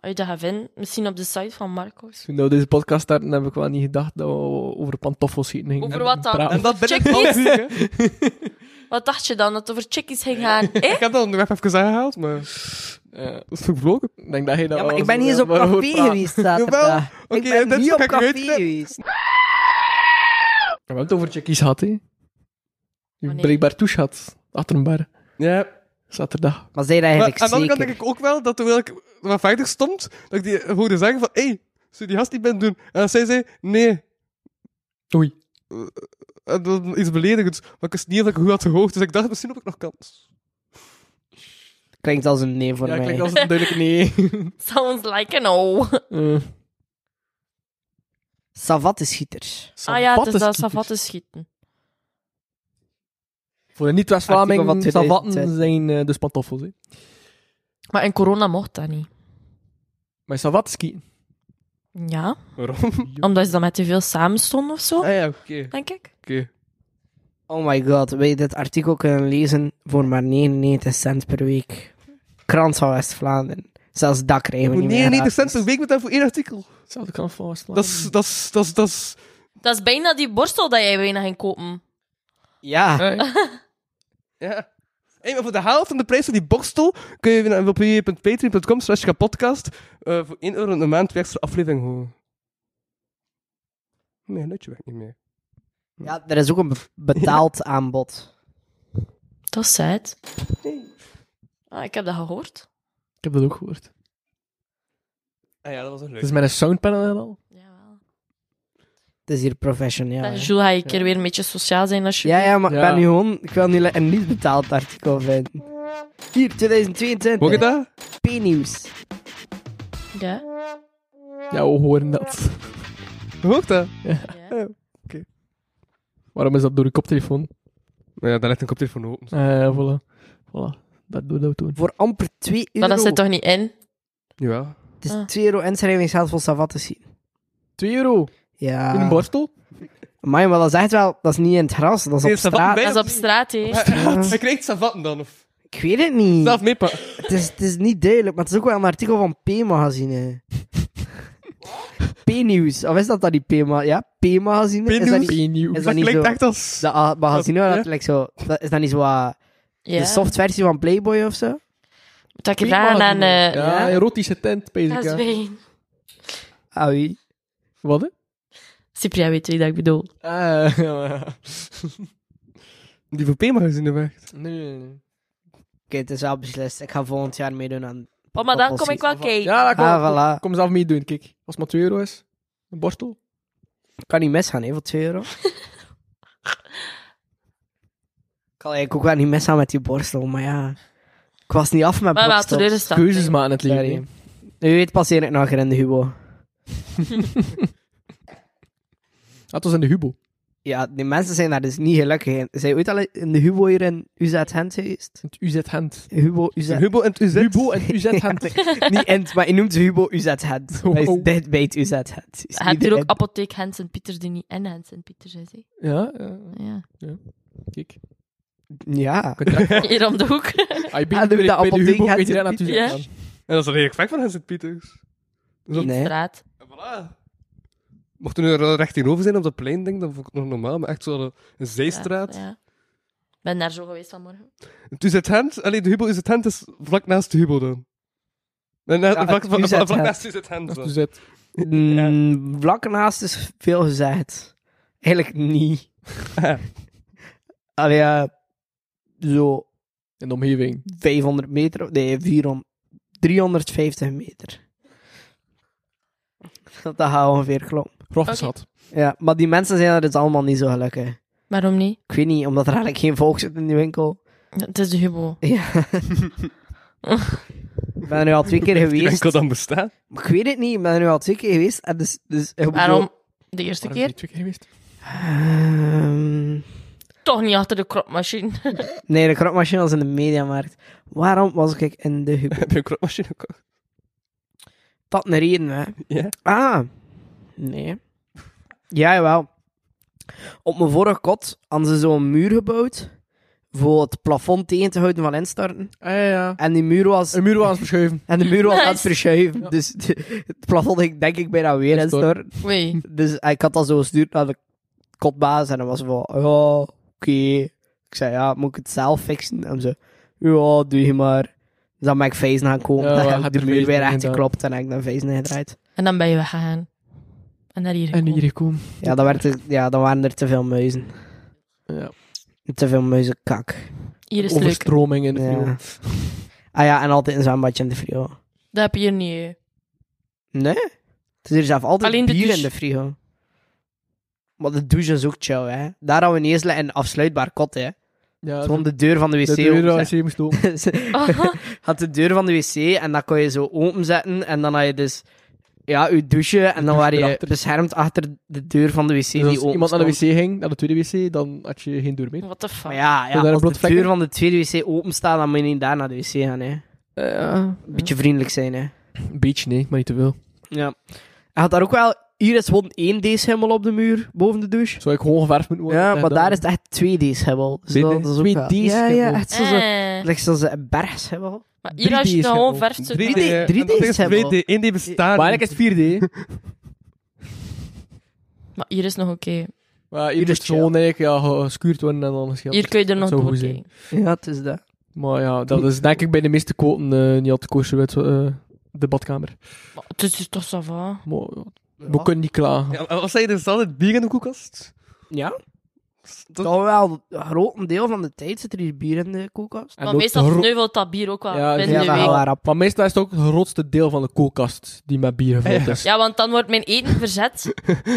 Als je dat gaat vinden, misschien op de site van Marcos. Toen we deze podcast starten, heb ik wel niet gedacht dat we over pantoffels schieten gingen. Over wat dan? praten. En dat ben ik Check wel. niet. Eh? hè. Wat dacht je dan, dat het over chickies ging gaan? Eh? Ik heb dat onderweg even aangehaald, maar Ja. dat is toch vloggen? Ik denk dat jij dat Ja, maar wel ik ben zo- niet eens op waarover café praat. geweest zaterdag. Oké, Ik en ben dit niet op ga ik café weten. geweest. We hebben het over chickies gehad, hè. Je Wanneer? breekbaar touche had. Achter een bar. Ja. Zaterdag. Maar zij dat Maar aan eigenlijk de andere kant zeker? denk ik ook wel dat terwijl ik wat verder stond, dat ik die hoorde zeggen van, hé, hey, zou die gast niet ben doen? En dan zei zij, nee. Eh, Oei. En dan iets beledigends. Maar ik wist niet of ik goed had gehoord, dus ik dacht, misschien heb ik nog kans. Klinkt als een nee voor ja, mij. klinkt als een duidelijk nee. Sounds like a no. Eh, Savattenschieters. Ah ja, het is dat savattenschieters. savatten schieten. Voor de Artikel niet-West-Vlamingen, van savatten 2000. zijn eh, dus pantoffels. Hè. Maar in corona mocht dat niet. Maar savatten skiën. Ja, Waarom? omdat ze dan met te veel samen stonden of zo, Ah ja, oké. denk ik. oké. Oh my god, wil je dit artikel kunnen lezen voor maar 99 cent per week? Krant van West-Vlaanderen. Zelfs dak krijgen we Voor niet meer. 99 cent gratis. per week met daarvoor één artikel. Hetzelfde kant van Dat West-Vlaanderen. is, dat is, dat is, dat is... Dat is bijna die borstel dat jij bijna ging kopen. Ja. Ja. Hey, maar voor de helft van de prijs van die borstel kun je naar- op www.patreon.com slash kapodcast eh, voor 1 euro een maand twee extra aflevering horen. Nee, dat werkt niet meer. ja, er is ook een be- betaald aanbod. Dat is sad. Ah, ik heb dat gehoord. Ik heb dat ook gehoord. Ah ja, dat was een leuk. Het is met een soundpanel en al. Jawel. Het is hier professioneel. Dan, hè. Jules, ga je een keer weer een beetje sociaal zijn als je... Ja, ja, maar Ja. ik ben nu gewoon... Ik wil nu le- een niet betaald artikel vinden. Hier, 2022. Hoor je dat? P-nieuws. Ja. Ja, we horen dat. Hoort dat? Ja. Waarom is dat door je koptelefoon? Nou ja, daar ligt een koptelefoon open. Eh, voilà. Voilà. Dat doen we doen. Voor amper 2 euro. Maar dat zit toch niet in? Jawel. Het is Ah. 2 euro inschrijving zelfs voor Savatte zien. 2 euro Ja. in een borstel? Amai, maar dat is echt wel... Dat is niet in het gras, dat is Nee, op Savatten straat. bij- Dat is op straat, hè. Hij krijgt savatten dan, of? Ik weet het niet. Zelf meepakken. Het is, het is niet duidelijk, maar het is ook wel een artikel van P-magazine. P-nieuws. Of is dat dan die P-ma? Ja, P-magazine. Is dat P-nieuws? niet P-nieuws. is Dat dat niet klinkt zo- echt als... dat ah, magazine? waar Ja. Dat, lijkt zo, dat, is dat niet zo wat- Ja. de softversie van Playboy of zo? Moet ik eraan aan... eh, ja, erotische tent, Dat is bezig. Ja. wijn. Ah, wie? Wat, hè? Cypria weet wie dat ik bedoel. Ah, ja, ja. Die voor P-magazine werkt. Nee, nee, nee. Oké, het is wel beslist. Ik ga volgend jaar meedoen aan... Oh, maar dan kom Appelsies. ik wel kijken. Ja, dat kom, Ah, voilà. kom, kom zelf meedoen, kijk. Als het maar 2 euro is, een borstel. Kan niet misgaan, hè, voor 2 euro. kan eigenlijk ook wel niet misgaan met die borstel, maar ja... Ik was niet af met maar wel borstels. teleurgesteld. Keuzes maken in het leven. Sorry. hè. U weet, passeer ik nog in de Hubo. Dat was in de Hubo. Ja, die mensen zijn daar dus niet gelukkig in. Zijn ooit al in de Hubo hier in UZ Gent geweest? Het UZ Gent. Hubo, UZ... Hubo en het UZ. Hubo en UZ Gent. niet Ent, maar je noemt Hubo UZ Gent. Hij is Oh. dicht bij het UZ Gent. Hij is niet Hij hebt hier de ook Ent. apotheek Hans en Pieter die niet en Hans en Pieter is. hè. Ja, eh, Ja. kijk. Ja. Hier om de hoek. Ah, je bent Ah, doe bij dat bij de apotheek Hubo, Gent weet je in daar naartoe. Pieter. gaan. En dat is een respect van Vincent Pieters. Nee. Straat. En voilà. Mocht er nu er recht tegenover zijn op dat plein, denk ik, dan vond ik het nog normaal. Maar echt zo een, een zijstraat. Ja. Ik ben daar zo geweest vanmorgen. Het UZ Gent, alleen de Hubo UZ Gent is dus vlak naast de Hubo dan. Nee, na- Ja, vlak, het vlak- UZ vlak Gent. naast UZ Gent. Dat zo. is UZ. Mm, vlak naast is veel gezegd. Eigenlijk niet. Allee, ja... Zo In de omgeving. 500 meter... of- Nee, 400... 350 meter. Dat gaat ongeveer klopt. Grof Oké. zat. Ja, maar die mensen zijn er dus allemaal niet zo gelukkig. Waarom niet? Ik weet niet, omdat er eigenlijk geen volk zit in die winkel. Het is de hubo. Ja. ik ben er nu al twee keer Die geweest. winkel dan bestaan. Maar ik weet het niet, ik ben er nu al twee keer geweest. En dus, dus ik heb Waarom zo- de eerste Waarom ben je keer? twee keer geweest? Ehm, Toch niet achter de kropmachine. nee, de kropmachine was in de mediamarkt. Waarom was ik in de hub? Heb je een kropmachine gekocht? Dat een reden, hè. Ja. Ah. Nee. Ja, jawel. Op mijn vorige kot hadden ze zo'n muur gebouwd. Voor het plafond tegen te houden van instorten. Ah, ja, ja. En die muur was Een muur aan het verschuiven. En de muur was aan het Nice. verschuiven. Dus de- het plafond ging denk ik bijna weer in Instorten. storten. Oei. Dus ik had dat zo gestuurd naar de kotbaas. En dan was van, ja, oké. Ik zei, ja, moet ik het zelf fixen? En ze, ja, doe je maar. Dus dan ben ik Fazen gaan komen. Ja, dan had heb ik er de muur Fazen weer echt ingedaan. geklopt. En heb ik dan Fazen ingedraaid. En dan ben je weggegaan. En naar hier En gekomen. hier gekomen. Ja dan, werd er- ja, dan waren er te veel muizen. Ja. Te veel muizenkak. Hier is het leuk. Overstroming in de Ja. Hubo. Ah ja, en altijd een zwembadje in de frio. Dat heb je hier niet. hè. Nee. Het is hier zelf altijd Alleen de bier douche. in de frigo. Maar de douche is ook chill, hè. Daar hadden we niet eens een afsluitbaar kot, hè. Ja, Gewoon de deur van de wc. de deur aan openzetten. de wc moest open. Ze had de deur van de wc en dat kon je zo openzetten. En dan had je dus... Ja, je douche. En dan douche was je erachter. beschermd achter de deur van de wc Dus die als open iemand naar de wc stond. ging, naar de tweede wc, dan had je geen deur meer. What the fuck? Maar ja, daar ja een als blote de vlek deur in? van de tweede wc open staat, dan moet je niet daar naar de wc gaan, hè. Eh, ja. Beetje vriendelijk zijn, hè. Een beetje, nee, maar niet te veel. Ja. Hij had daar ook wel... Hier is gewoon 1D-schimmel op de muur, boven de douche. Zou ik gewoon geverfd moeten worden? Ja, maar daar is het echt 2D-schimmel. Dus dat, dat is ook wel- 2D Ja, ja, schimmel. echt zo, zo, Eh, like zo'n zo bergschimmel. maar hier als 3D je is dan gewoon gewoon verft... zit 3D. dat- drie- eh, drie en dat D's is hebben 2D. 1D bestaat Maar niet. eigenlijk is het 4D. Maar hier is nog oké. Maar hier Hier moest is chill. gewoon eigenlijk ja, geskuurd worden en dan geschilderd. Hier kun je er nog zou door goed zijn. kijken. Ja, het is dat. Maar ja, dat is denk ik bij de meeste quoten eh, niet al te koosje uit eh, de badkamer. Maar Het is toch zo van. Maar, ja, We kunnen niet klagen. Ja, maar Wat zei je, er is altijd bier in de koelkast? Ja? Dat- Toch wel, een groot deel van de tijd zit er hier bier in de koelkast. En Maar ook meestal de gro- sneuvelt dat bier ook wel Ja, binnen ja, de dat week. gaat wel rap. Maar meestal is het ook het grootste deel van de koelkast die met bier gevuld Ja. is. Ja, want dan wordt mijn eten verzet.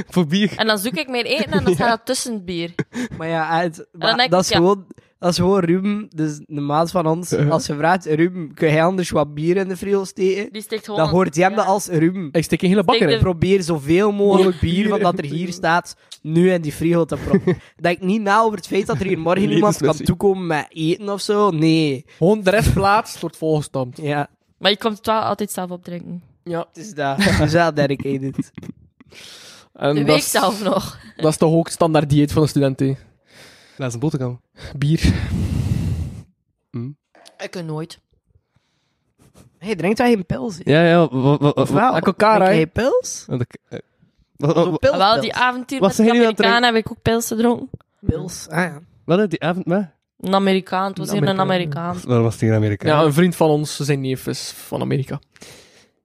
Voor bier. En dan zoek ik mijn eten en dan staat dat tussen het bier. Maar ja, het, maar denk ik, dat is ja. gewoon... Dat is gewoon Ruben, dus de maat van ons. Ja. Als je vraagt, Ruben, kun jij anders wat bier in de frigo steken? Die steekt gewoon... Dan hoort jij dat Ja. als Ruben. Ik steek een hele bakker Steek in. de- Probeer zoveel mogelijk bier van dat er hier staat, nu in die frigo te proppen. Denk niet na over het feit dat er hier morgen Nee, iemand dat is kan toekomen met eten of zo. Nee. Gewoon de restplaats wordt volgestampt. Ja, Maar je komt het wel altijd zelf opdrinken. Ja. het is dat. Het is wel dedicated. En De dat week is- zelf nog. Dat is toch ook het standaard dieet van een student, hè? Laat een boterham. Bier. Ik kan nooit. Hij drinkt wel geen pils. hè? Ja, ja. Wat, wat, Of wel? Elk elkaar, Drink hè? jij pils? wat, eh, wat, wat, Zo wat, pils, Ah, Wel, pils. die avontuur Wat met zijn de jullie aan het Amerikaan heb ik ook pils gedronken. Pils, ah ja. wat, eh, die avond, maar? Een Amerikaan, het was Een hier een Amerikaan. Amerikaan. Waarom was die in Amerika? Ja, een vriend van ons, zijn neef is van Amerika.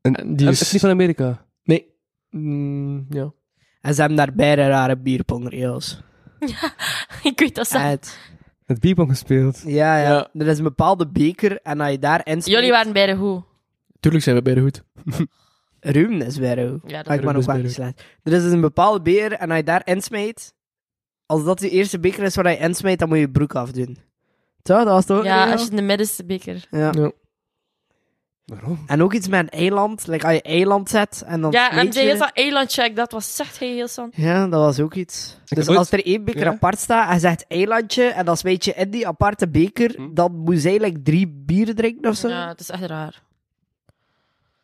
En- En die Het is niet is... van Amerika. Nee. Mm, ja. En ze hebben daar beide rare bierpongregels. Ik weet dat zelf. Uit. Het bierpong gespeeld. Ja, ja, Ja. Er is een bepaalde beker en als je daar inspreekt... Jullie waren bij de hoe. Tuurlijk zijn we beide goed. Ruim is bij jou. Ja, Ah, dat ik maar ook is wel bij niet slecht. Er is dus een bepaalde beker en als je daar insmijt... Als dat de eerste beker is waar je insmijt, dan moet je je broek afdoen. Toch? Dat was toch ook een Ja, regel? als je in de middenste beker. Ja. Ja. Waarom? En ook iets met een eiland. Like als je eiland zet en dan Ja, en smijt de je- hele eilandcheck, dat was echt heel san. Ja, dat was ook iets. dus heb als er één beker Ja. apart staat en je zegt eilandje en dan smijt je in die aparte beker, Hm. dan moet zij like drie bieren drinken of zo. Ja, het is echt raar.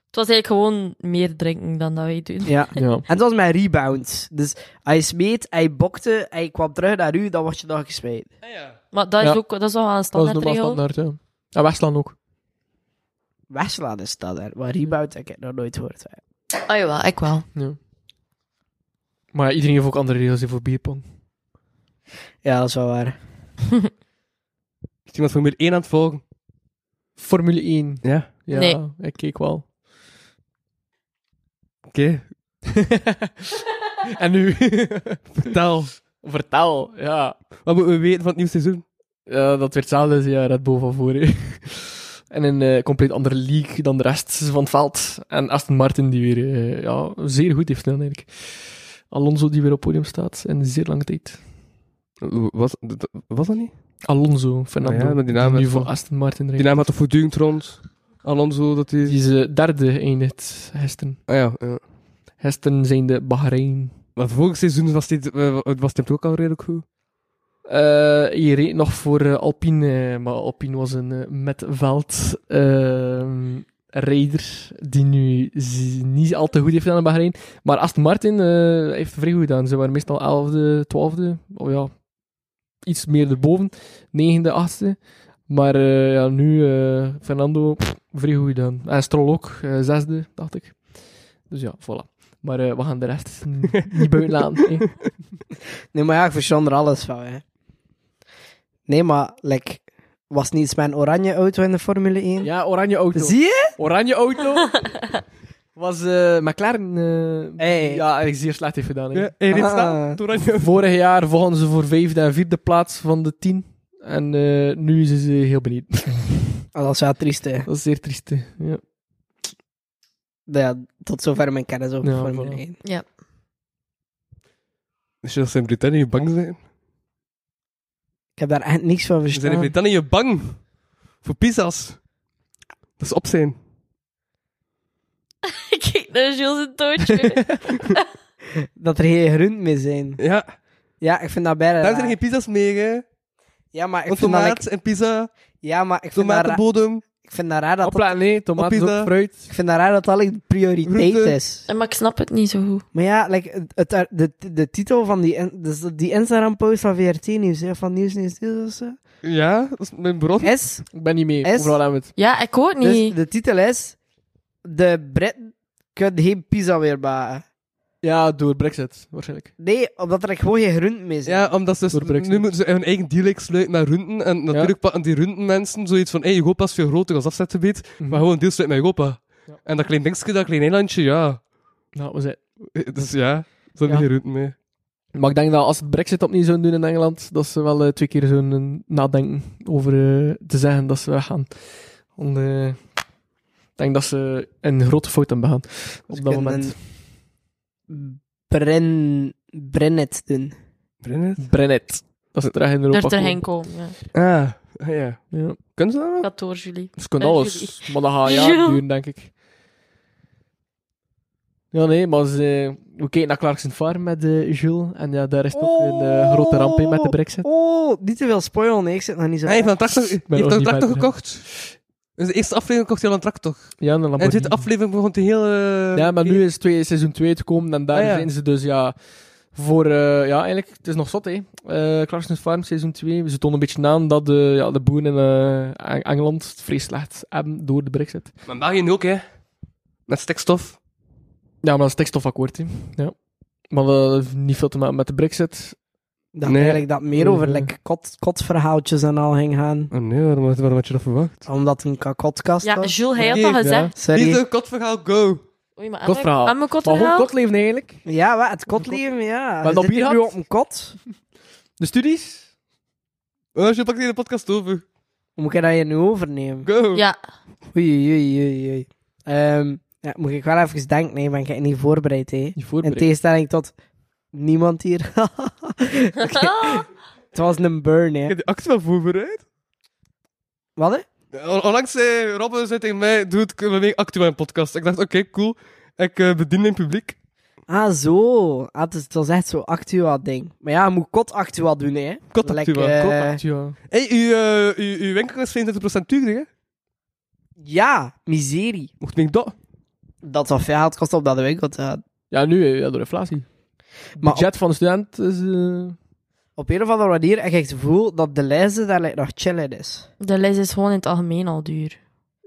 Het was eigenlijk gewoon meer drinken dan dat wij doen. ja. Ja. En het was mijn rebound. Dus hij smeet, hij bokte, hij kwam terug naar u, dan word je nog gesmeed. Maar dat is Ja. ook dat is wel een Dat is standaard normaal standaard, ja. En Westland ook. Westlaan is dat er, maar rebound heb ik nog nooit gehoord. Oh jawel, ik wel. Maar ja, iedereen heeft ook andere regels hè, voor bierpong. Ja, dat is wel waar. Is iemand Formule 1 aan het volgen? Formule 1. Ja. Ja, Nee. ik keek wel. Oké. En nu? Vertel. Vertel, ja. Wat moeten we weten van het nieuwe seizoen? Ja, dat werd hetzelfde als ja, Red Bull van voor. hè. En een eh, compleet andere league dan de rest van het veld. En Aston Martin die weer eh, ja, zeer goed heeft gedaan eigenlijk. Alonso die weer op podium staat in zeer lange tijd. Was, d- d- was dat niet? Alonso, Fernando. Ah ja, maar die naam nu werd voor van- Aston Martin Die rijdt. naam had toch voortdurend rond? Alonso, dat Die is... is eh, derde geëindigd gisteren. Ah ja, ja. Gisteren zijn de Bahrein. Maar vorig seizoen was, dit, eh, was het ook al redelijk goed. Eh hier reed nog voor eh, Alpine, eh, maar Alpine was een eh, met veld ehm, rijder die nu z- niet al te goed heeft gedaan in Bahrein. Maar Aston Martin eh, heeft vrij goed gedaan. Ze waren meestal 11e, 12e, of ja, iets meer erboven, 9e, 8e. Maar eh, ja, nu eh, Fernando pff, vrij goed gedaan. En Stroll ook, eh, 6e, dacht ik. Dus ja, voilà. Maar eh, we gaan de rest niet buiten laten. hè. Nee, maar ja, ik verstand er alles van, hè. Nee, maar, like, was niet eens mijn oranje auto in de Formule 1? Ja, oranje auto. Zie je? Oranje auto was eh McLaren. eh, Hey. Ja, eigenlijk zeer slecht heeft gedaan. hè. Ja, hey, dit Ah. staat. Toen had je- Vorig jaar volgen ze voor vijfde en vierde plaats van de tien. En eh, nu zijn ze heel benieuwd. Oh, dat is wel triest, hè. Dat is zeer triest. hè. Ja. Ja, tot zover mijn kennis over Ja, Formule voilà. 1. Is je dat ze in Brittannië bang zijn? Ik heb daar echt niks van Ze zijn in verstaan. Brittannië bang voor pizza's. Dat is op zijn. Ik kijk naar Jules een tootje. Dat er geen rund mee zijn. Ja, Ja, ik vind dat bijna daar zijn raar. geen pizza's meer, hè. Ja, maar ik Want vind dat... tomaat like- en pizza, Ja, maar ik vind dat raar, tomatenbodem. ik vind dat raar dat dat... Hopla, nee, tomaat is ook Pizza. fruit. Ik vind dat raar dat dat like, de prioriteit Groente. is. maar ik snap het niet zo goed. Maar ja, like, het- het, de, de titel van die, in- dus die Instagram-post van VRT Nieuws, hè, van Nieuws Nieuws Nieuws of zo, Ja, dat is mijn bron. is... Ik ben niet mee. Is- Overal aan het. Ja, ik hoor Dus niet. de titel is: De Britten kunnen geen pizza meer baken. Ja, door Brexit waarschijnlijk. Nee, omdat er gewoon geen groenten mee zijn. Ja, omdat ze Door Brexit. nu moeten ze hun eigen deal sluiten met runden. En natuurlijk pakken die rundenmensen zoiets van: hey, Europa is veel groter als afzetgebied, maar gewoon een deal sluiten met Europa. Ja. En dat klein dingetje, dat klein eilandje, ja. Nou, we zijn. Eh, Dus ja, ze hebben Ja. geen runden meer. Maar ik denk dat als Brexit opnieuw zouden doen in Engeland, dat ze wel eh, twee keer zo'n eh, nadenken over eh, te zeggen dat ze weggaan. Want eh, ik denk dat ze een grote fout aan begaan op dat moment. Bren, Brennet doen. Brennet? Brennet. Dat ze terug in Europa er terheen komen. komen. Ja. Ah, ah, ja. Ja. Kunnen ze dat wel? Dat door Julie. Ze kunnen Bij alles. Maar dat gaat Ja. jaren duren, denk ik. Ja, nee, maar ze, we keken naar Clarkson Farm met eh, Jules. En ja, daar is toch een eh, grote ramp in met de brexit. Oh, niet te veel spoilen. Nee, ik zit nog niet zo... Hij heeft een tractor, hij ben heeft nog een niet tractor verder. gekocht. Dus de eerste aflevering kocht hij al een tractor. Ja, En en een de tweede Lamborghini. aflevering begon hij heel... eh, Ja, maar nu is twee, seizoen 2 te komen en daar Ah, ja. zijn ze dus ja voor. eh, ja, eigenlijk, het is nog zot, hè? Eh Clarkson's Farm seizoen 2. Ze tonen een beetje aan dat de, ja, de boeren in eh, Eng- Engeland het vrees slecht hebben door de Brexit. Maar België nu ook, hè. Met stikstof. Ja, maar dat is stikstofakkoord, hè? Ja. Maar dat heeft niet veel te maken met de Brexit. Ik dacht Nee. eigenlijk dat het meer over Eh. like, kot, kotverhaaltjes en al ging gaan. Oh nee, waarom, waarom had je dat verwacht? Omdat het een kakotkast Ja, was. Jules, hij had Nee, dat gezegd. Niet Sorry. een kotverhaal, go! Oei, maar Kotverhaal. Aan mijn Maar gewoon kotverhaal? kotleven eigenlijk. Ja, wat, het kotleven, ja. Wat Je op zit hier nu had? op een kot. De studies? Oh, je pakt hier de podcast over. Hoe moet ik dat je nu overnemen? Go! Ja, Oei, oei, oei, oei, oei. Ehm, ja, moet ik wel even denken, nee, ben ik niet voorbereid, hè. Niet In voorbereid. tegenstelling tot niemand hier. Oké. Het was een burn, Ik hè. heb die actie wel voorbereid. Wat, hè? Onlangs onlangs zei Robin zei tegen mij, doe het we mee actie mijn podcast. Ik dacht, oké, cool. Ik eh, bedien mijn publiek. Ah, zo. Ah, het, is- het was echt zo'n actua-ding. Maar ja, je moet kot actua doen, hè. Kot actua, Like, eh, Echt, ja. Hé, uw, eh, uw, uw winkel is 25% duurder, hè? Ja, miserie. Mocht ik dat? Dat wat veel geld kost op dat de winkel te gaan. ja, nu eh, ja, door inflatie. Het Maar op, budget van de student is. eh, op een of andere manier heb ik het gevoel dat de lijsten daar like, nog chill in is. de lijst is gewoon in het algemeen al duur.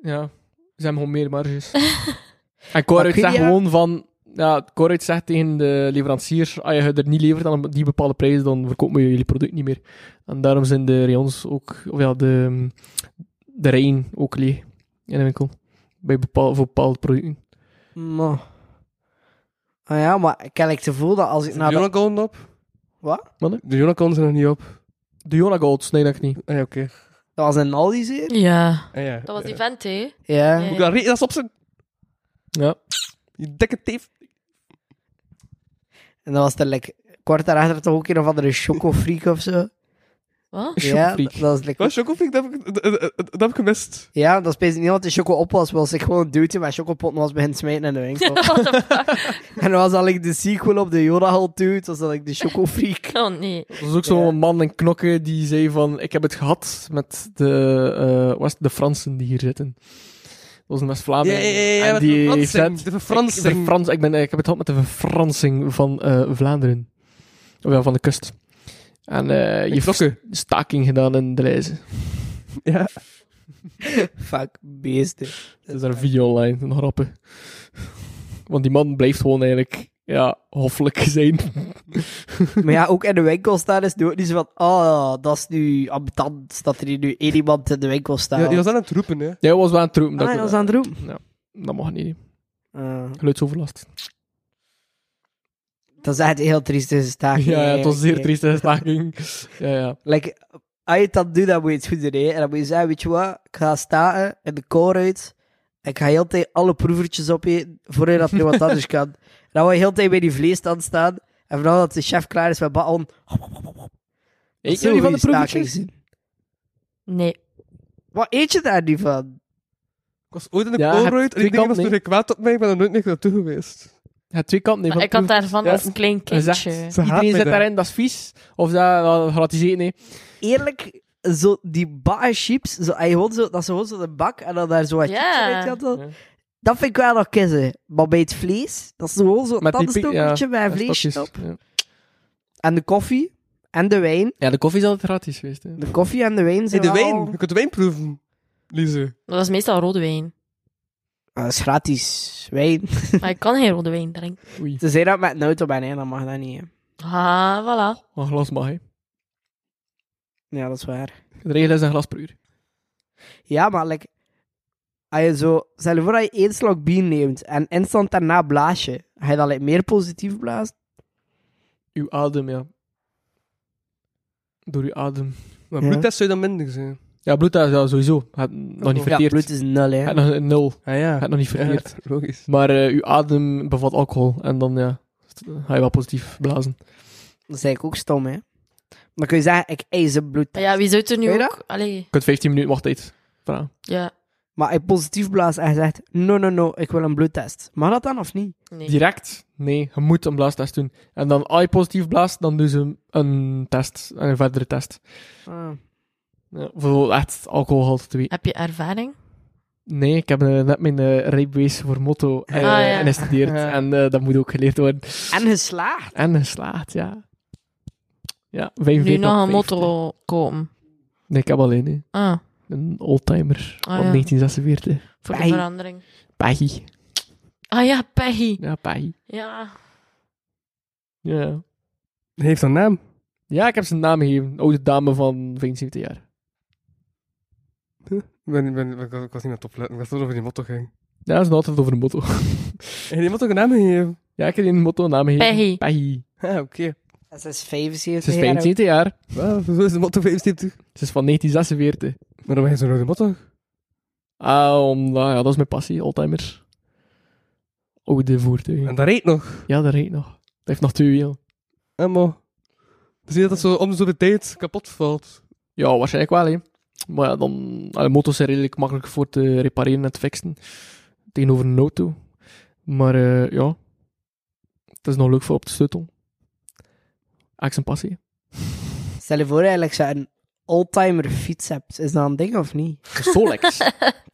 Ja, ze hebben gewoon meer marges. en Maar Coruit kun je- zegt gewoon van... Ja, Coruit zegt tegen de leverancier... Als je het er niet levert aan die bepaalde prijs, dan verkopen we jullie product niet meer. En daarom zijn de rayons ook... Of ja, de, de rijen ook leeg in de winkel. Bij bepaal, voor bepaalde producten. Maar... Ah ja, maar ik heb like, het gevoel dat als ik Nou, naar de de... Jonacon op? Wat? De Jonacon is er nog niet op. De Jona Golds, nee, dat ik niet. Ah, ja, oké. Dat was een Aldi zeer? Ja. Ah, ja. Dat was die Eh, vent, hè? Ja. Ja. moet ik dat re- Dat is op zijn... Ja. Die dikke teef. En dan was er like, kort daarachter toch ook een of andere chocofreak of zo. Wat? Ja, dat Chocofreak. was like, Wat, Chocofreak? Dat heb ik, dat, dat- dat- dat heb ik gemist. ja, dat speelde niet want de choco op was, was ik gewoon een duwtje met chocopotten was begint smijten in de winkel. Oh, en dan was dat like, de sequel op de Yoda Hall 2, was dat like, de chocofreak. Oh, nee. Er was ook zo'n Ja. man in knokken die zei van... Ik heb het gehad met de, eh, was het de Fransen die hier zitten. Dat was een West-Vlaming. en met die de heeft verfransing. net- De Ik, verfransing. verfrans- ik, ben, eh, ik heb het gehad met de verfransing van eh, Vlaanderen. Of ja, van de kust. En eh, je heeft Knokken. staking gedaan in de lijzen. Ja. Fuck, beesten. Er is daar een video online, een grappen. Want die man blijft gewoon eigenlijk ja, hoffelijk zijn. Maar ja, ook in de winkel staan is nu ook niet zo van, ah, dat is nu ambetant, dat er hier nu één iemand in de winkel staat. Ja, die was aan het roepen, hè. Jij was wel aan het ah, roepen. Dat, hij was aan het roepen. dat mag niet. Ah. Geluidsoverlast. dat is echt een heel trieste staking. ja, ja, het was een zeer eigenlijk, hè. trieste staking. ja, ja. Like, als je dat doet, dan moet je het goed doen. Hè? En dan moet je zeggen, weet je wat, ik ga staan in de kou uit. Ik ga heel de tijd alle proevertjes opeten, voordat dat nu wat anders kan. En dan wil je heel de tijd bij die vleesstand staan. En vooral dat de chef klaar is met baon. Ik jullie van de proefjes. zien. Nee. Wat eet je daar nu van? Ik was ooit in de Ja, ja, heb Colruyt en twee ik denk dat kanten, toen ik kwaad op mij, ik ben er nooit meer naartoe geweest. Ja, twee kanten. nee, Maar van ik had proef- daarvan Ja. als klein Gezegd. kindje. Ze haat mij Iedereen zit daar. daarin, dat is vies. Of dat, dat gratis eten, nee. Eerlijk, zo die bakken chips, zo, en je gewoon zo, dat is gewoon zo de bak en dan daar zo wat Ja. chips uit Ja. Dat vind ik wel nog kiezen. Maar bij het vlees, dat is gewoon zo'n Met die pik- tandstokkertje met een Ja, vleesje stokjes. op. Ja. En de koffie, en de wijn. Ja, de koffie is altijd gratis geweest. Hè. De koffie en de wijn Hey, zijn de wel- wijn. Je kunt de wijn proeven, Lize. Dat was meestal rode wijn. Ah, dat is gratis. Wijn. Maar ik kan geen rode wijn drinken. Oei, Ze zei dat met een auto ben, hè. Dan mag dat niet, hè. Ah, voilà. een glas mag, hè. Ja, dat is waar. De regel is een glas per uur. Ja, maar like... Als je zo... Stel je voor dat je één slok bier neemt en instant daarna blaas je. Ga je dan like, meer positief blazen? Uw adem, ja. Door uw adem. Maar Ja. bloedtest zou dan minder zijn. Ja, bloed, dat is ja, sowieso. Had nog niet Ja, verteerd. bloed is nul, hè. Had nog een nul. Ah ja. Had nog niet Ja, verteerd. logisch. Maar eh, uw adem bevat alcohol. En dan, ja, st- ga je wel positief blazen. Dat is eigenlijk ook stom, hè. Dan kun je zeggen, ik eis een bloed. Maar ja, wie zou het er Weet nu je ook... Allee, kunt 15 minuten wachttijd vragen. ja. Maar hij positief blaast en hij zegt, no, no, no, ik wil een bloedtest. Mag dat dan of niet? Nee. Direct? Nee, je moet een blaastest doen. En dan als je positief blaast, dan doen ze een test, een verdere test. Ah. Ja, voor echt alcoholgehalte 2. Heb je ervaring? Nee, ik heb eh, net mijn eh, rijbewijs voor motto eh, Ah, ja. geïnstalleerd. Ja. En eh, dat moet ook geleerd worden. En geslaagd. En geslaagd, ja. Ja, Nu 45 nog op een 50. motto komen. Nee, ik heb alleen hè. Ah, een oldtimer Ah, van ja. 1946. voor Pei. de verandering. Paggy. Ah ja, Peggy. Ja, Paggy. Ja. Ja. Hij heeft een naam. ja, ik heb zijn naam gegeven. Een Oude dame van 75 jaar. Ik, ben, ik ben, ik, was, ik was niet aan het opletten. Ik was over die motto ging. Ja, dat is altijd over een motto. En die motto een naam gegeven. Ja, ik heb die een motto een naam gegeven. Peggy. Ah, oké. En ze is 75 Ze is jaar oud. 75 jaar. Wow, zo is de motto 75. Ze is van 1946. Maar dan ben je zo'n rode motto. Ah, omdat, ja, dat is mijn passie, oldtimer. Oude voertuigen. En dat reed nog. Ja, dat rijdt nog. Dat heeft nog twee wielen. Emma. Dus je dat dat zo om de zoveel tijd kapot valt. Ja, waarschijnlijk wel, hè. Maar ja, dan... allee, motos zijn redelijk makkelijk voor te repareren en te fixen. Tegenover een auto. Maar eh, ja... Het is nog leuk voor op de sleutel. Eigenlijk zijn passie. Stel je voor eigenlijk dat je een oldtimer fiets hebt. Is dat een ding of niet? Een Solex.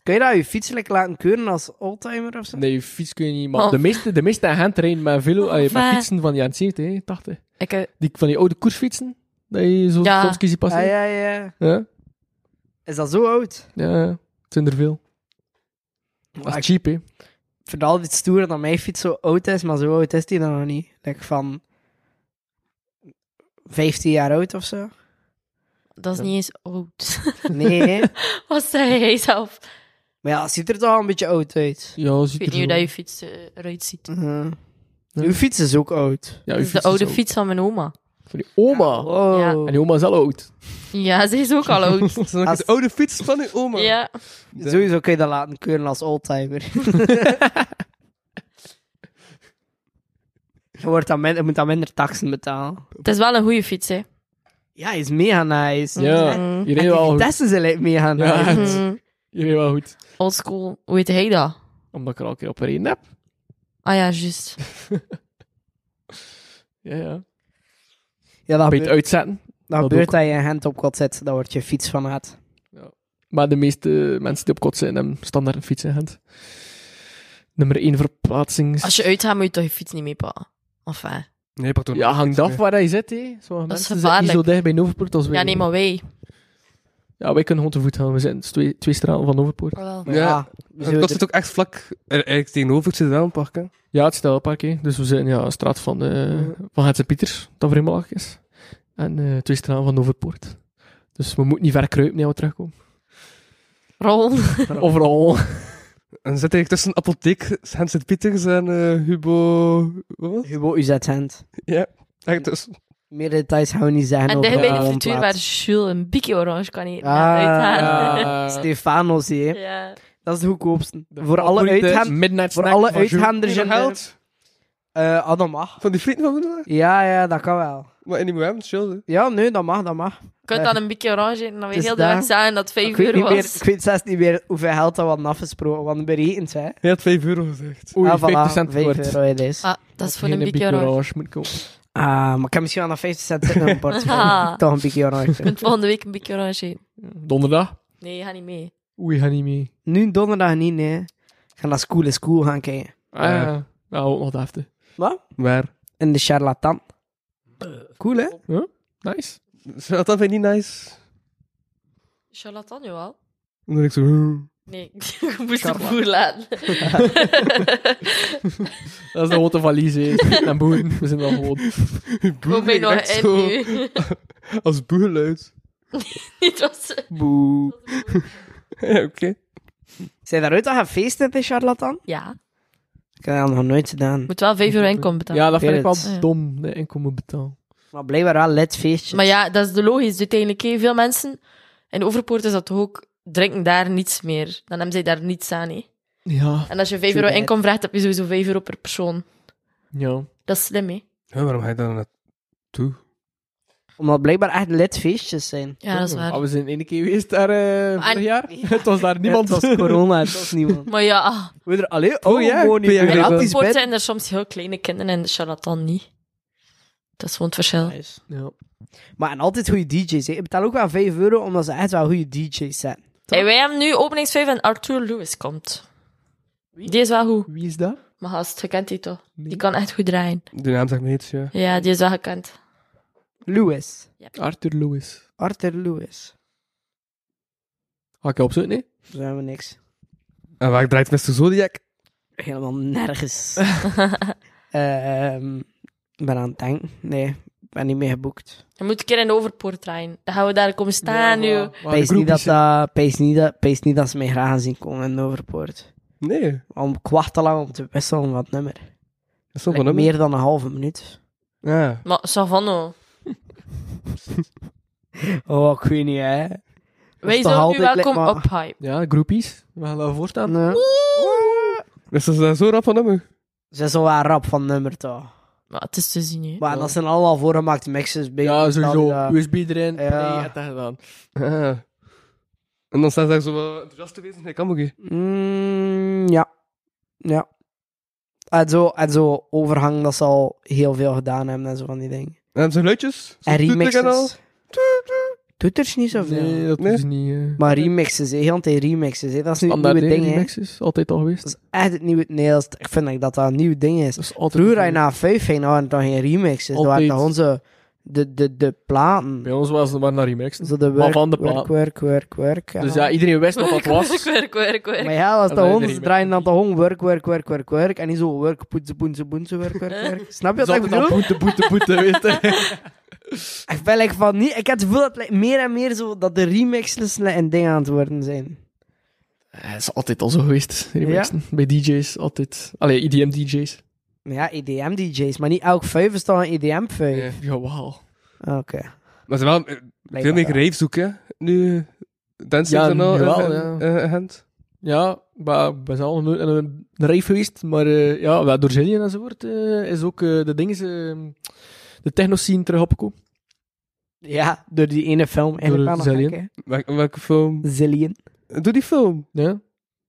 Kun je dat je fiets like laten keuren als oldtimer of zo? nee, fiets kun je niet... Maar Oh. de meeste, de meeste agenten rijden met, velo, Oh, allee, met waar? fietsen van de jaren 70, hè, 80. Ik, eh, Die, van die oude koersfietsen. Dat je zo Ja. soms kies je Ah, passen. ja, ja. ja. Is dat zo oud? Ja, het zijn er Ah, veel. Dat Maar is cheap, hè. Ik vind het altijd stoer dat mijn fiets zo oud is, maar zo oud is die dan nog niet. Like van 15 jaar oud of zo. dat is Ja. niet eens oud. Nee, hè? Wat zei jij zelf? maar ja, het ziet er toch al een beetje oud uit. Ja, Ik ziet weet niet er hoe zo- dat je fiets eh, eruit ziet. Mhm. Uw fiets is ook oud. Ja, dat uw is de fiets oude ook- fiets van mijn oma. Van die oma. Wow. En die oma is al oud. Ja, ze is ook al oud. Dat is dan ook Oh. Als- de oude fiets van uw oma. ja. Sowieso kun je dat laten keuren als oldtimer. je, wordt dan min- je moet dan minder taxen betalen. Het is wel een goede fiets, hè. Ja, is mega nice. Ja, Mm. je En reed die wel goed. Vitesse zijn like mega nice. Ja. Mm. Je reed wel goed. Old school. Hoe heet hij dat? Omdat ik er al een keer op gereden heb. Ah ja, juist. Ja, ja. Ja, dat Een beetje gebeurt, uitzetten. dat, dat gebeurt ook. dat je een hand op kot zet, dan wordt je fiets van haat. Maar de meeste mensen die op kot zijn, hebben standaard een fiets in hand. Nummer 1 verplaatsing. is- Als je uitgaat, moet je toch je fiets niet meepakken. Enfin. Nee, pardon. Ja, hangt af waar je zit, hè. Sommige Dat is mensen zitten niet zo gevaarlijk. dicht bij Overpoort als wij. Ja, nee, maar wij. Ja, wij kunnen gewoon te voet gaan. We zitten twee, twee straten van Overpoort. Ja, Ja, we Het zullen kost er- het ook echt vlak. Er, eigenlijk tegenover zit wel een park, hè. Ja, het stelpark, hè. Dus we zijn ja, een straat van, eh van het Sint-Pieters, dat vreemdelag is. En eh, twee straten van Overpoort. Dus we moeten niet ver kruipen, hè, als we terugkomen. Rol. Overal. En zit eigenlijk tussen apotheek, Hans het Pieters en eh, Hubo. Wat? was het? Hubo UZ hand. Ja, echt dus, tussen. Meer details gaan we niet zeggen. En over dicht bij de de frituur waar woonplaats. Jules een bikje orange kan eten. Ah, Ah, Ja. Stefano's, hè. ja. Dat is de goedkoopste. voor alle uitgaan... midnight Voor snack alle van Jules. uitgaanders Nog in de... geld? Eh, ah, dat mag. Van die vrienden van Moeder? Ja, ja, dat kan wel. Maar in die moment, chill. hè. Ja, nee, dat mag, dat mag. Je kunt dan een bikje orange eten en dan weer Dus heel de daar- weg zeggen dat het Ik 5 weet, euro niet meer, was. ik weet zelfs niet meer hoeveel geld dat we hadden afgesproken, want berekend, hè. Hij had 5 euro gezegd. Oei, Ah, 50 cent 5 wordt. euro het is. Ah, Ah, dat is voor Geen een bikje orange. moet komen. maar ik heb misschien wel nog 50 cent zitten in een portefeuille. Ah. Toch een beetje orange. Volgende week een bikje orange eten. Donderdag? Nee, ga niet mee. Oei, ga niet mee. Nu donderdag niet, nee. Ik ga naar School is Cool gaan kijken. Ah, Ja. ja. Nou, ook nog de hefte. Maar. In de charlatan. Cool, hè? Nice. Dat vind ik niet nice. Charlatan, jawel. Dan ben ik zo. "Huh." Nee, ik moest het boer laten. Dat is de grote valies, hè. En boeren, we zijn wel gewoon... Kom mij nog echt in zo nu. Als boerluid. Het was... Boe. Ja, oké. Zijn daaruit dat gaan feesten in de charlatan? Ja, Ik heb dat nog nooit gedaan. moet wel 5 euro inkomen betalen. Ja, dat vind ik Weet het. wel dom, de inkomen betalen. Maar blijkbaar wel let feestje. Maar ja, dat is de logisch. Uiteindelijk, hé, veel mensen in Overpoort is dat toch ook, drinken daar niets meer. Dan hebben zij daar niets aan. hé. Ja. En als je 5 True euro that. inkomen vraagt, heb je sowieso 5 euro per persoon. Ja. Dat is slim, hè? Ja, waarom ga je daar naartoe? Omdat blijkbaar echt lid feestjes zijn. Ja, dat is waar. Ah, Ah, we zijn één keer geweest daar eh, vorig en- jaar. Het was daar niemand. Het was corona, het was niemand. Maar ja, We er alleen Oh, oh, ja, ja, gewoon niet ben je meer in gratis Apelpoort bed. zijn er soms heel kleine kinderen en de charlatan niet. Dat is gewoon het verschil. Nice. Ja. Maar en altijd goede DJ's. Hè. Ik betaal ook wel 5 euro omdat ze echt wel goede DJ's zijn. Hey, wij hebben nu openingsvijf en Arthur Lewis komt. Die is wel goed. Wie is dat? Maar gast, je kent die toch? Nee. Die kan echt goed draaien. De naam zegt me iets, ja. Ja, die is wel gekend. Lewis. Arthur Lewis. Arthur Lewis. Ga Ah, ik je opzoeken, nee? Daar zijn we niks. En waar draait Mr. Zodiac? Helemaal nergens. Ehm, Ik ben aan het denken. Nee, ik ben niet meer geboekt. Je moet een keer in de overpoort draaien. Dan gaan we daar komen staan nu. Waar Ah, de Pees niet, dat groepjes dat, pees niet, dat, pees niet dat ze mij graag gaan zien komen in Overpoort. Nee, dat Om kwart te lang om te wisselen van het nummer. is toch Like, wel een Meer dan een halve minuut. Ja. Maar Savano, Oh, ik weet niet, hè. toch wij zijn nu altijd welkom like, maar- op hype. zijn. Ja, groepies. We gaan daarvoor staan. Nee. Dus dat is eh, zo rap van nummer. Ze is al wel rap van nummer, toch? Maar het is te zien, hè. Maar dat zijn allemaal voorgemaakte mixes. bij- Ja, sowieso. dat- USB erin. Ja. Ja. dat gedaan. Ah. En dan staat ze daar zo wel enthousiast te wezen. Ik kan ook niet. Mm, ja. Ja. En zo, en zo overhang dat ze al heel veel gedaan hebben en zo van die dingen. En hebben ze geluidjes. Zo En toeter en al. remixes. Toeters niet zoveel. Nee, dat Nee. is niet... eh, Maar remixes, hè. heel de tijd remixes. Hè. Dat is nu het standaard nieuwe hè, ding, hè. remixes. Altijd al geweest. Dat is echt het nieuwe... Nee, dat is- ik vind dat dat een nieuw ding is. Dat is altijd Vroeger, als je naar vijf ging, dan waren er toch geen remixes. Dat waren Altijd. toch onze... De, de, de platen. Bij ons was het maar naar remixen. Zo de Maar werk, van de plaat. werk, werk, werk, werk. Dus ja, iedereen wist wat dat was. Werk, werk, werk. Maar ja, als de En dan is er honden niet draaien dan de hond werk, werk, werk, werk, werk. En niet zo werk, poetsen, poetsen, poetsen, werk, werk, werk. Snap je Dat wat ik altijd al bedoel? boete, boete, boete, weet je. Ik vind like, van niet... Ik heb het gevoel dat like, meer en meer zo dat de remixes like, een ding aan het worden zijn. Het is altijd al zo geweest, remixen. Bij DJ's, altijd. Allee, E EDM-DJ's. Maar ja, E EDM-DJ's. Maar niet elk vijf is dan een E EDM-vijf. Ja. Jawel. Oké. Maar ze wel eh, veel meer raves zoeken, nu. Dancing Ja, en al. en- jawel, en- ja. eh, eh, hand. Ja, maar we zijn al nog nooit in een een rave geweest, maar eh ja, wel door Gillian enzovoort eh, is ook eh, de dingen, eh, de techno-scene terug opgekomen. Ja, door die ene film. Eigenlijk Door wel nog Zillion. gek, Wel- Welke film? hè. Zillion. Doe die film. Ja?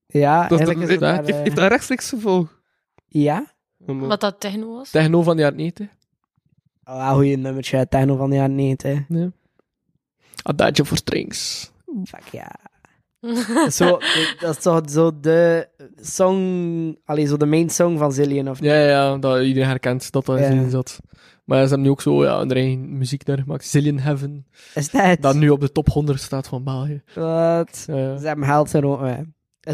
Ja, Dat is eigenlijk de- is het maar, dat- eh, Heeft daar rechtstreeks gevolg? Ja? Wat dat techno was. Techno van de jaren 90. Oh, wel goeie nummertje uit techno van de jaren 90. hè. Adagio for Strings. Fuck ja. zo, dat is toch zo de song... Allee, zo de main song van Zillion, of Ja, ja, ja, dat iedereen herkent dat dat in Ja. Zillion zat. Maar ze hebben nu ook zo ja, hun eigen muziek daar gemaakt. Zillion Heaven, Is dat? dat nu op de top 100 staat van België. Wat? Ja, ja. Ze hebben geld genomen. hè.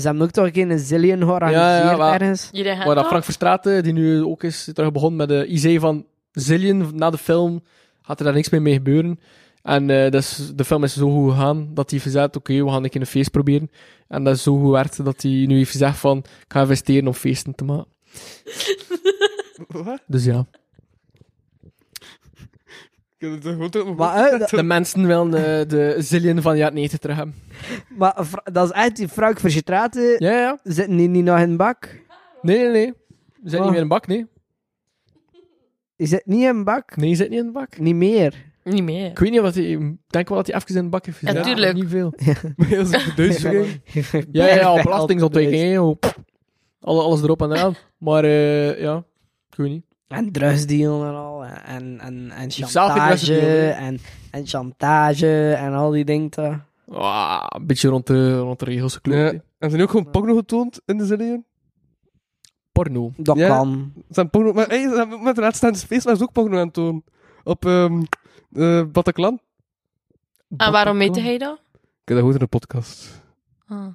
Ze hebben ook toch een keer een zillion georganiseerd Ja, ja, maar- ergens. Jullie gaan Maar dat toch? Frank Verstraeten, die nu ook is terug begonnen met de IC van Zillion na de film, had er daar niks meer mee gebeuren. En eh, dat is- de film is zo goed gegaan dat hij verzet, oké, we gaan een keer een feest proberen. En dat is zo goed werd dat hij nu heeft gezegd van, ik ga investeren om feesten te maken. Wat? Dus ja. Kunnen we het toch gewoon- Maar, hè, dat, De mensen willen eh, de Zillion van ja, nee, terug hebben. maar Fra- dat is echt die Frank Verstraeten. Ja, ja. Zitten die niet nog in een bak? Nee, nee, nee. Je zit Ah. niet meer in de bak, nee. Die zit niet in een bak. Nee, je zit niet in de bak. Niet meer. Niet meer. Ik weet niet wat hij... Ik denk wel dat hij even in de bak heeft gezet. maar tuurlijk. Niet veel. Heel zo'n Dus, Duits eh, gegeven. Ja, ja, ja, belastingontwijking, hè, joh. Pff, Alle, alles erop en eraan. Maar eh, ja, ik weet niet. En drugsdeal en al. En, en, en hebt zelf geen chantage. drugsdeal, En, en chantage en al die dingen. toch. Ah, een beetje rond de, rond de regels gekleurd. Ja. hè. En zijn ook gewoon porno getoond in de Zillion? Porno. Dat Ja. kan. Ze zijn porno... Maar hey, ze hebben met de laatste space waren ze ook porno aan het tonen. Op ehm eh, Bataclan. En Ah, waarom weet hij dat? Ik heb dat goed in de podcast. Ah.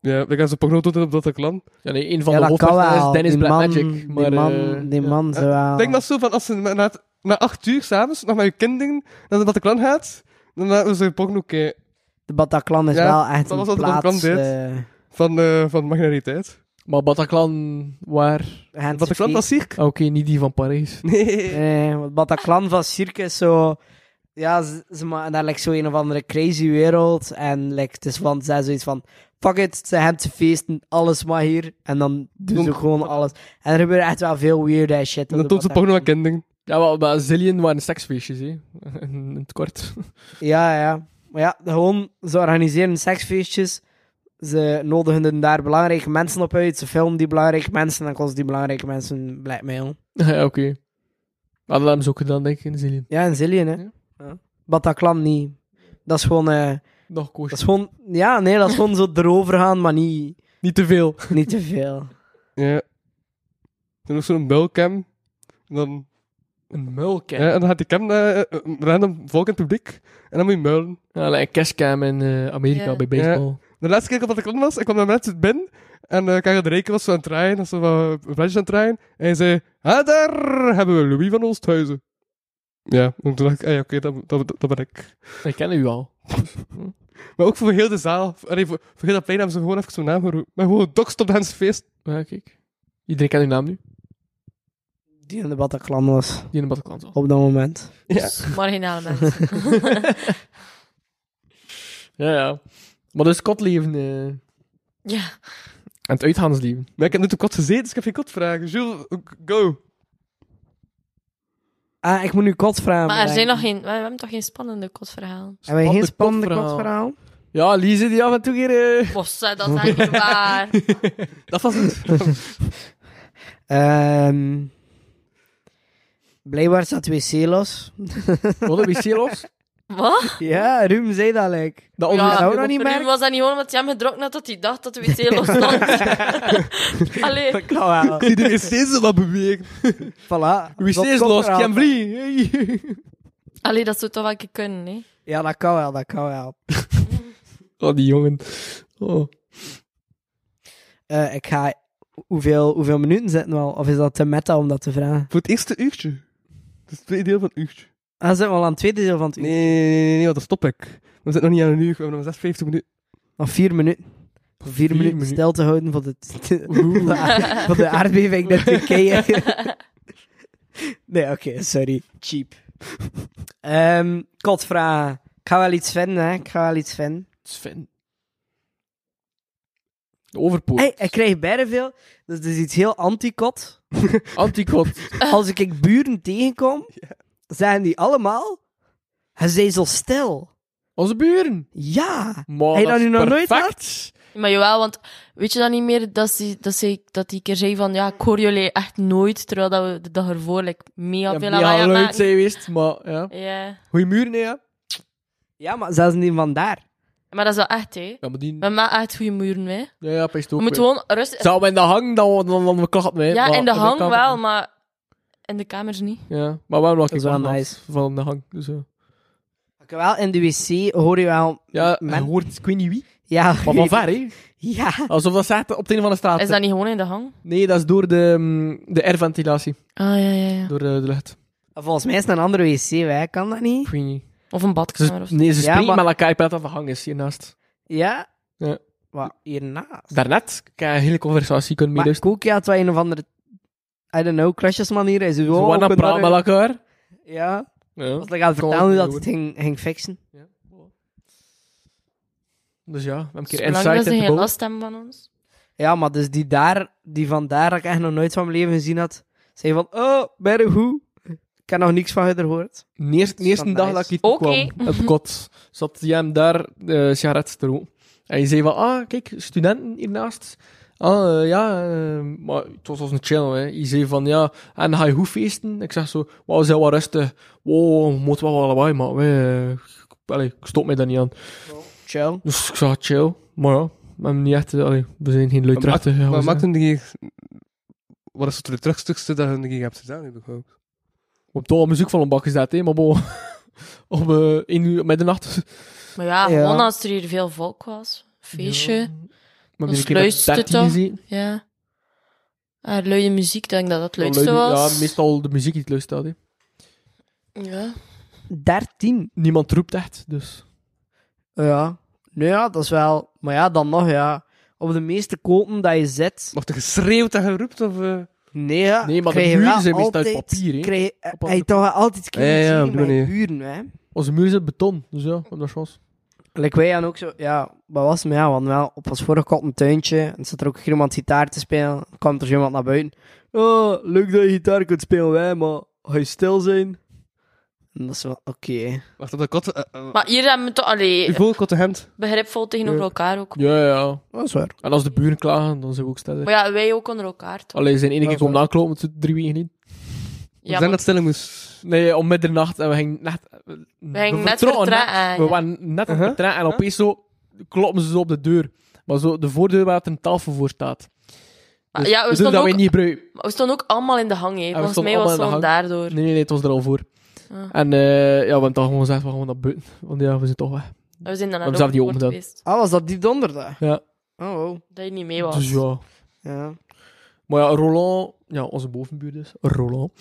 Ja, dan gaan ze porno tonen op Bataclan. Ja, nee, een van Ja, de dat kan wel. hoofdpersonen is Dennis Die man, Blackmagic. Maar, die man, eh, die ja. man zou wel- Ik denk dat zo van als ze na, na, na acht uur s'avonds nog met je kinderen naar de Bataclan gaat, dan laten ze porno kijken De Bataclan is Ja, wel echt dat was een wat de Bataclan plaats... deed. eh, van, eh van magnetiteit. Maar Bataclan, waar? Gent Bataclan Circuit. was ziek. Ah, Oké, niet die van Parijs. Nee. Nee, want Bataclan van circus zo... Ja, ze, ze maken daar like, zo een of andere crazy wereld. En like, het is van, ze zijn zoiets van... Fuck it, ze hebben te feesten, alles maar hier. En dan doen ze Doen- gewoon alles. En er gebeurt echt wel veel weird ass shit. op Dan de toont ze Bataclan. porno met kinderen. Ja, wel, maar Zillion waren seksfeestjes, hè. Een het kort. Ja, ja. Maar ja, gewoon, ze organiseren seksfeestjes. Ze nodigen daar belangrijke mensen op uit. Ze filmen die belangrijke mensen en kost die belangrijke mensen blackmail. ja, oké. Maar dat hebben ze ook gedaan, denk ik, in Zillion. Ja, in Zillion, hè. Ja. Ja. Bataclan niet. Dat is gewoon... eh, Nog koosje. dat is gewoon... Ja, nee, dat is gewoon zo erover gaan, maar niet, Niet te veel. niet te veel. Ja. Toen ook zo'n mulcam. En Dan, Een muilcam. ja, en dan had die cam eh, eh, random volk in het publiek. En dan moet je muilen. Ja, like een cashcam in eh, Amerika Ja. bij baseball. De laatste keer dat ik klant was, ik kwam naar mensen binnen. En eh Kaga de Reken was zo aan het draaien. was zo van eh, een flesje aan het draaien. En hij zei, ah, daar hebben we Louis van Oosthuizen. Ja, en toen dacht ik, ah ja, oké, dat, dat, dat ben ik. Wij kennen u al. Maar ook voor heel de zaal. Allee, voor, voor heel dat plein hebben ze gewoon even zo'n naam geroepen. Maar gewoon dokst op de Hans feest. Ja, kijk. Iedereen kent uw naam nu. Die in de Bataclan was, Die in de Bataclan zat. op dat moment. Ja. Marginale mensen. Ja, ja. Maar dus kotleven eh, en ja. het uitgaansleven. Maar ik heb net op kot gezeten, dus ik heb geen kotvragen. Jules, go. Ah, ik moet nu kot vragen. Maar er zijn bedenken. nog geen... We hebben toch geen spannende kotverhalen? Hebben we geen spannende kotverhaal. kotverhaal? Ja, Lise die af en toe hier... eh, Bos, hè, dat is echt niet waar. Dat was het. Ehm blijkbaar staat wc los. Wat een wc los? Wat? ja, Ruben zei dat, like. Dat Ja, onderwijs dat ook nog niet Voor hem merken. was dat niet gewoon omdat hij hem gedronken had dat hij dacht dat de wc los stond. Allee. Dat kan wel. Iedereen is steeds wat bewegen. voilà. wc Dat is los, kotverhaal. geen vlie. Hey. Allee, dat zou toch wel een keer kunnen, hè? Ja, dat kan wel, dat kan wel. Oh, die jongen. Oh. Eh, ik ga... Hoeveel, hoeveel minuten zitten we al? Of is dat te meta om dat te vragen? Voor het eerste uurtje. Het is het tweede deel van het uurtje. Ah, zitten we al aan het tweede deel van het uur. Nee, nee, nee, nee, nee, want dan stop ik. We zitten nog niet aan een uur, we hebben nog 56 minuten. Nog vier minuten. Vier, minuten minuten. stil te houden van de, van de aardbeving naar Turkije. nee, oké, sorry. Cheap. Ehm kotvraag. Ik ga wel iets vinden, hè. Ik ga wel iets vinden. Sven. De overpoort. Hey, ik krijg bijna veel. Dus het is iets heel anti-kot. Antikot. Als ik, ik buren tegenkom, zijn die allemaal. Hij zei zo stil. Onze buren. Ja. Maar Heb je dat dat is nu nog nooit perfect. Maar jawel, want weet je dan niet meer dat ze dat ze dat die keer zei van ja, ik hoor jullie echt nooit, terwijl dat we de dag ervoor like, mega Ja, veel ja, lawaai aan luid maken. zijn geweest, maar ja. Ja, Goeie muren, hè, ja. Ja, maar zelfs niet van daar. maar dat is wel echt, hè? Ja, maar die... We maken echt goede muren, hè? Ja, ja, pijst We ook. moeten weer. gewoon rustig. Zou we in de hang, dan, dan, dan, we klachten mee. Ja, Eh, maar in de hang kamer- wel, maar in de kamers niet. Ja, maar waarom laat Dat ik is wel wel nice. van de hang? Dus, eh. Ik wel in de wc hoor je wel. ja, men- je hoort, ik weet niet wie. Ja, Maar van ver, hè. Ja. Alsof dat staat op het einde van de straat. Is dat niet gewoon in de hang? Nee, dat is door de, mm, de airventilatie. Ah ja, ja, ja. Door eh, de lucht. Volgens mij is het een andere wc, wij kan dat niet. Ik weet niet. Of een Ze, badkamer of zo. nee, ze Ja, spreken maar- met elkaar. Ik ben dat dat de hang is hiernaast. Ja. Ja. Wat hiernaast. Daarnet kan je een hele conversatie kunnen Maar meeluisteren. Koekje had wel een of andere. I don't know, crashes-manier. Hij zei, Ze wow, waren aan ik het ben praten met daar- elkaar. Ja. Ja. Was ik aan het Kan vertellen hoe het dat niet het ging, ging fixen. Dus ja, we hebben een keer Zolang dat insight ze in de geen boot. last hebben van ons. Ja, maar dus die daar, die vandaar dat ik echt nog nooit van mijn leven gezien had, zei van, oh, bij de hoe. Ik heb nog niks van haar gehoord. De eerste, de Dat eerste is dag nice. dat ik hier Oké. kwam, op kot, zat hij hem daar eh sigaretten te roken. En je zei van, ah, kijk, studenten hiernaast. Ah, eh, ja, eh, maar het was als een channel, hè. Je zei van, ja, en ga je hoe feesten? Ik zeg zo, wauw, zijn wel rustig. Wow, we moeten wel wat lawaai, maar wij, eh, allee, ik stop mij daar niet aan. Chill. Dus ik zag chill, maar ja, we, hebben niet echt, eh, allee, we zijn geen luidruchtige maar gozer. maakt hun die... Wat is het terugstukstukste dat hun die hebt gedaan, heb ik gehoopt. We hebben toch al muziek van een bak gezet, hè, maar bon. Om eh, één uur middernacht. Maar ja, Ja. gewoon als er hier veel volk was. Feestje. Maar Dus een keer met luistert het 13 dan? gezien. Ja. Ah, luie muziek, ik denk dat dat het Dan leukste luid- was. Ja, meestal de muziek die het luistert. Hè. Ja. 13. Niemand roept echt, dus... Ja. Nou ja, dat is wel... Maar ja, dan nog, ja. Op de meeste kopen dat je zet... Of de geschreeuwd en geroept, of... eh, Nee, ja, Nee, maar de krijg je buren wel zijn meestal uit altijd- papier, hè. Krijg je, eh, andere heb je toch wel altijd Ja, ja, kinderen op ja, die met je manier. buren, hè. Onze muur is uit beton, dus ja, op dat chance. Like wij hadden ook zo... Ja, wat was het? Maar Ja, we hadden wel op ons vorige kot een tuintje. En zat er ook hier iemand gitaar te spelen. Dan kwam er zo iemand naar buiten. Oh, leuk dat je gitaar kunt spelen, wij, maar... Ga je stil zijn? En Dat is wel oké. Wacht op de kot. eh, eh, Maar hier hebben we toch allee, Uw volle Kottenhemd. begripvol tegenover Ja. elkaar ook. Ja, ja. Dat is waar. En als de buren klagen, dan zijn we ook Maar stiller. ja, wij ook onder elkaar toch? Allee, zijn ene Dat keer is komt waar. aankloppen, toen drie weken niet. Ik Ja, denk maar dat stellen moest. Nee, om middernacht en we gingen net... We, gingen net vertrokken net. vertrekken, We ja. waren net op Uh-huh. het trein en opeens zo kloppen ze zo op de deur. Maar zo, de voordeur waar het een tafel voor staat. Dus ja, we, bedoel stonden dat ook, wij niet gebruiken. we stonden ook allemaal in de hang. Hè. Volgens stonden mij was het allemaal in gewoon de daardoor. Nee, nee, nee, het was er al voor. Ah. En eh, ja, we hebben toch gewoon gezegd, we gaan gewoon naar buiten. Want ja, we zijn toch weg. We zijn dan hebben zelf naar die Rockport opgedaan. geweest. Ah, was dat die donderdag? Ja. Oh, wow. Dat je niet mee was. Dus ja. Ja. Maar ja, Roland... Ja, onze bovenbuur dus. Roland.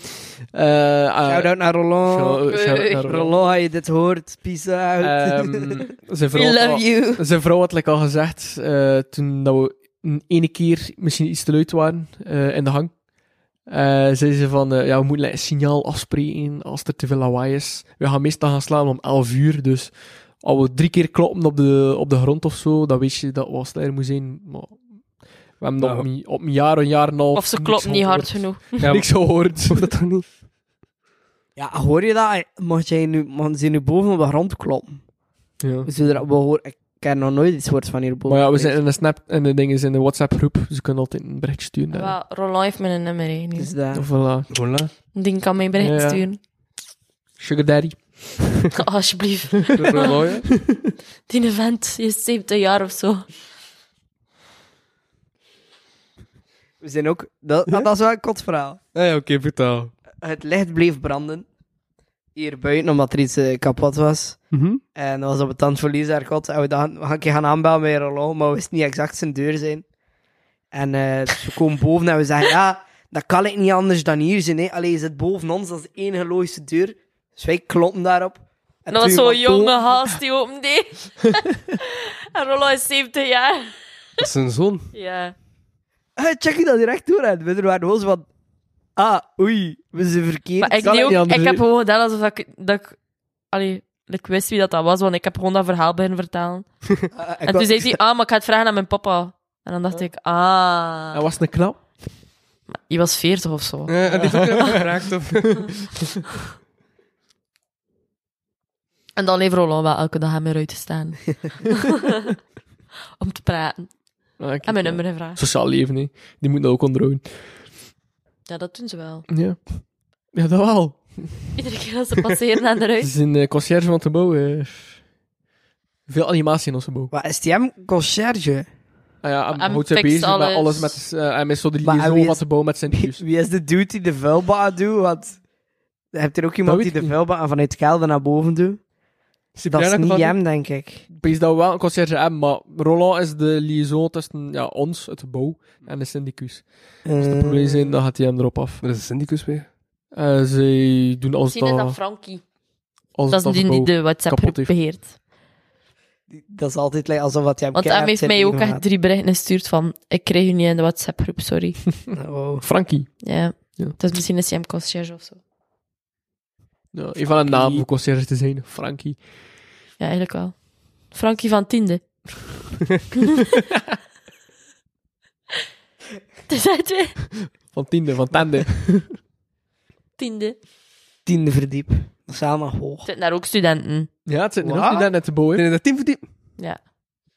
Eh, eh, Shout-out naar Roland. shout- shout-out naar Roland. Roland, als je dit hoort, peace out. Ehm, We zijn vrouw had al- love you. Zijn vrouw had like, al gezegd, eh, toen dat we een ene keer misschien iets te luid waren eh, in de hang, eh, zei ze van, eh, ja, we moeten like, een signaal afspreken als er te veel lawaai is. We gaan meestal gaan slapen om 11 uur, dus als we drie keer kloppen op de, op de grond of zo, dan weet je dat we al sneller moet zijn. Maar we hebben Nou. op, mijn, op mijn jaar, een jaar en een half Of ze niks klopt niet hard gehoord. genoeg. Ja, Niks gehoord. Hoeft dat toch niet? ja, hoor je dat? Mocht jij nu, mocht ze nu boven op de grond kloppen? Ja. We zullen dat- we horen, ik ken nog nooit iets hoort van hierboven. Maar ja, we zijn in de Snap en de dingen in de WhatsApp-groep, dus je kunt altijd een bericht sturen. daar. Wel, Roland heeft me een nummer. hè, nu. Dus dat- Of voilà. Voilà. Die kan mij bericht Ja, ja. sturen. Sugar Daddy. Alsjeblieft. Mooi, hè? Die vent die is 70 jaar of zo. we zijn ook... Dat, ah, dat is wel een kot verhaal. Ah ja, oké, vertel. Het licht bleef branden. Hier buiten, omdat er iets eh, kapot was. Mhm. En dat was op het tandverlies daar kot. En we dachten, we gaan een keer gaan aanbellen bij Roland, maar we wisten niet exact zijn deur zijn. En eh, dus we komen boven en we zeggen, ja, dat kan ik niet anders dan hier zijn. Hè. Allee, je zit boven ons, dat is de enige logische deur. Dus wij kloppen daarop. En En dat was toen zo'n iemand jonge boven- haast die opendeed. en Roland is 70 jaar. Dat is zijn zoon. Ja. Eh, check je dat direct door uit. We waren gewoon zo van, ah, oei, we zijn verkeerd. Maar ik, Kan deed het niet ook, anders, ik hè. heb gewoon gedaan alsof ik... Dat ik allee, ik wist wie dat, dat was, want ik heb gewoon dat verhaal beginnen vertellen. Ah, ik en wou- toen zei hij, ah, maar ik ga het vragen aan mijn papa. En dan dacht ik, Hij ah... was een knap. Die was 40 of zo. Eh, en die is ook even gevraagd of... En dan heeft Roland wel elke dag aan mijn ruit te staan. Om te praten. Ah, kijk, En mijn ja. nummer gevraagd. Sociaal leven, hè. Die moet dat ook onderhouden. Ja, dat doen ze wel. Ja. Ja, dat wel. Iedere keer als ze passeren aan de Het ruit. is een eh, conciërge van Tebo. eh veel animatie in onze bo. Wat is die hem? Concierge? Ah ja, hij Hij houdt zich fixt bezig met alles. alles. Met, eh hij is zo de Maar hij liaison van is- Tebo met zijn nieuws. Wie is de dude die de vuilbaan doet? Want je hebt er ook iemand weet die ik de niet. vuilbaan vanuit Gelder naar boven doet. Dat is niet hem, denk ik. Precies dat we wel een conciërge hebben, maar Roland is de liaison tussen ja, ons, het bo, en de syndicus. Als er Eh, problemen zijn, dan gaat hij hem erop af. Er Mm. is een syndicus weer. Eh zij doen alles Misschien is dat dat... Frankie. Als Dat is die die de kapot WhatsApp-groep heeft. beheert. dat is altijd like, alsof wat jij hem Want hem keihard heeft zit mij ook echt ingemaakt. drie berichten gestuurd van... Ik kreeg je niet in de WhatsApp-groep, sorry. Oh. Frankie. Ja. Ja. Dat is misschien een CM Concierge of zo. Ja, een van de naam voor conciërge te zijn. Frankie. Ja, eigenlijk wel. Frankie van Tiende. Er zijn twee. Van tiende, van tende. Tiende. Tiende verdiep. Dat is allemaal hoog. Er zitten daar ook studenten. Ja, het zit nu nog Wat? niet aan het bo, hè. Nee, nee, dat team verdiept. Ja.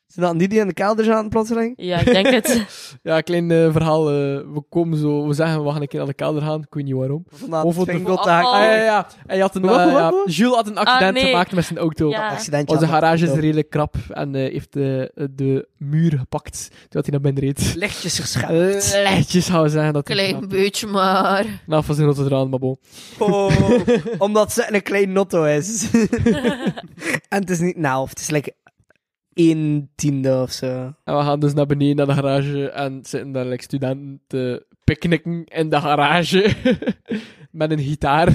Zijn dat niet die in de kelder zaten plotseling? Ja, ik denk het. Ja, klein eh, verhaal. eh, we komen zo, we zeggen we gaan een keer naar de kelder gaan. Ik weet niet waarom. Vandaag Of het wat de- vingeltaak. Oh, Ah, Ah, ja, ja, ja. Hij had een, Wat, wat, eh, ja, wat, wat? Jules had een accident nee. gemaakt met zijn auto. Ja. Accidentje Onze aan Oh, de garage is auto. redelijk krap en eh, heeft de, de muur gepakt toen dat hij naar binnen reed. Lichtjes geschapen. Letjes gaan we zeggen dat hij Klein knap- beetje maar. knap was in Rotterdam, maar bon. Oh, omdat ze een klein notto is. en het is niet nou, het is like één tiende of zo. En we gaan dus naar beneden naar de garage en zitten daar like, studenten te picknicken in de garage met een gitaar.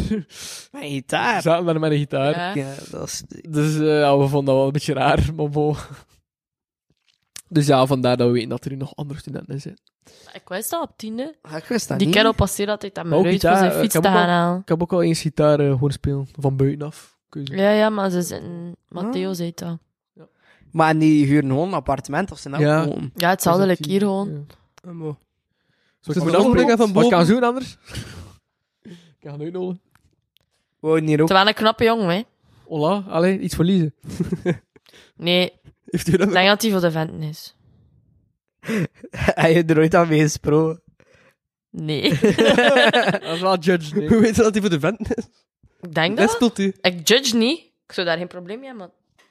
Mijn gitaar. Zaten daar met een gitaar. Ja. Ja, dat is... Dus eh, ja, we vonden dat wel een beetje raar, maar bon. Dus ja, vandaar dat we weten dat er hier nog andere studenten zijn. Ik wist dat op tiende. Ah, Ik wist dat Die niet. kerel passeert altijd aan Maar mijn ook ruit voor niet, hè. zijn Ik fiets te heb ook gaan al- halen. Ik heb ook al eens gitaar eh, horen spelen, van buitenaf. Kun je zeggen. Ja, ja, maar ze zitten... Matteo Ah. zei het al. Maar en die huren gewoon een appartement of ze nou Ja. gewoon... Ja, hetzelfde Dus like dat hier die- gewoon. Oh, ja. Zal Ze ik moeten moet afbreken van afbreken van boven. Wat boven. kan doen anders? ik ga gaan uitnodigen. wouden hier ook... Terwijl een knappe jongen, hè. Hola, allee, iets verliezen. Nee, Heeft u dat ik denk dat hij voor de venten is. Hij heeft er ooit aan mee gesproken. Nee. Dat is wel judge, nee. Hoe weet je dat hij voor de vent is? ik denk dat... Nestelt u? Ik judge niet. Ik zou daar geen probleem mee hebben, maar...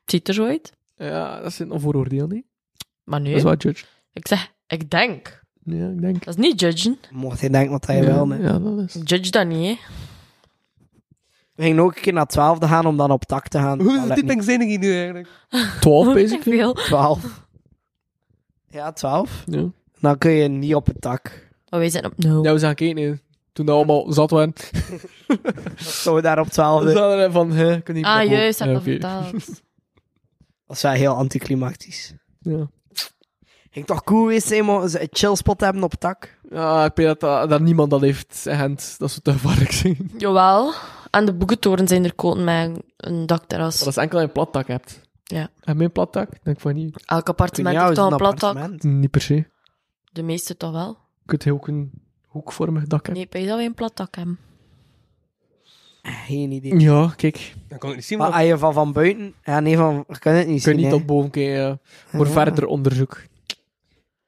Het ziet er zo uit. Ja, dat zit een vooroordeel, nee. Maar Dat is nu, wel judge. ik zeg, ik denk. Ja, ik denk. Dat is niet judgen. Mocht hij denken wat hij ja, wil, nee. Ja, dat is. Ik judge dat niet, hè. We gingen ook een keer naar 12 gaan om dan op tak te gaan. Hoe Dat is lukt dit niet. ben zijn hier nu eigenlijk? 12 Ik basically. wil. 12. Ja, 12. Ja. Dan kun je niet op het tak. Maar wij zijn op nul. Ja, we zijn kijken nee. toen dat allemaal zat waren. Zo daar op 12. We zaten er van, hè, kan niet ah, meer- juist, heb Ja, ik oké. verteld. Dat is wel heel anticlimactisch. Ja. Ging toch cool geweest zijn, maar ze een chillspot hebben op het tak. Ja, Ah, ik weet dat, dat, dat niemand dat heeft in Gent. Dat ze te gevaarlijk zijn. Maar Jawel. Aan de boekentoren zijn er koten met een dakterras. dat is enkel als je een plattak hebt. Ja. Heb je een plattak? Denk van niet. Elk appartement Ik weet heeft niet, toch een is het plat dak. appartement? Niet per se. Je De meeste toch wel. kunt heel ook een hoekvormig dak hebben. Nee, bij dat wij een plat dak hebben. Geen idee. Ja, kijk. Dan kan ik niet zien, Maar maar... als je van van buiten... Ja, nee, van... Je kan het niet Je kunt zien, niet hè. op boven kijken eh, voor Ja. verder onderzoek.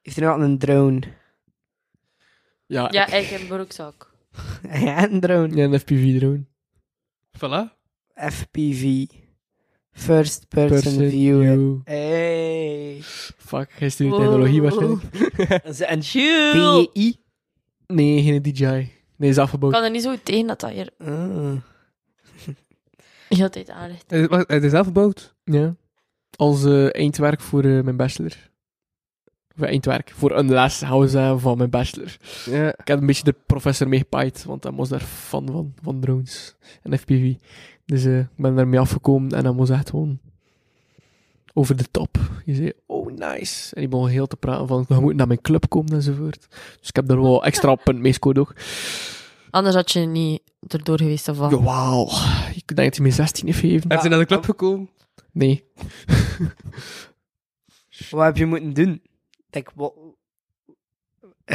Heeft hij nou een drone? Ah, Ja, Ja, ja. ik heb een broekzak. Ja, een drone. een FPV-drone. Voilà. FPV. First person, viewer. Hey. Fuck, geen studie technologie waarschijnlijk. En shoot. DJI. Nee, geen DJI. Nee, is Ik afgebouwd. kan er niet zo goed tegen dat dat hier Ah. de hele tijd aan ligt. Hij is- wacht, hij is zelf gebouwd. Ja. Als eh, eindwerk voor eh, mijn bachelor. Of eh, eindwerk. Voor een les, houden ze zeggen, van mijn bachelor. Ja. Ik heb een beetje de professor meegepaaid, want hij was daar fan van, van drones en FPV. Dus eh, ik ben daarmee afgekomen en hij was echt gewoon over de top. Je zei, oh nice. En die begon heel te praten van, we moeten naar mijn club komen enzovoort. Dus ik heb daar wel extra punt mee gescoord ook. Anders had je niet erdoor geweest of wat. Wauw. Ik denk dat hij me 16 heeft gegeven. Hij is naar de club gekomen. Nee. Wat heb je moeten doen? Ik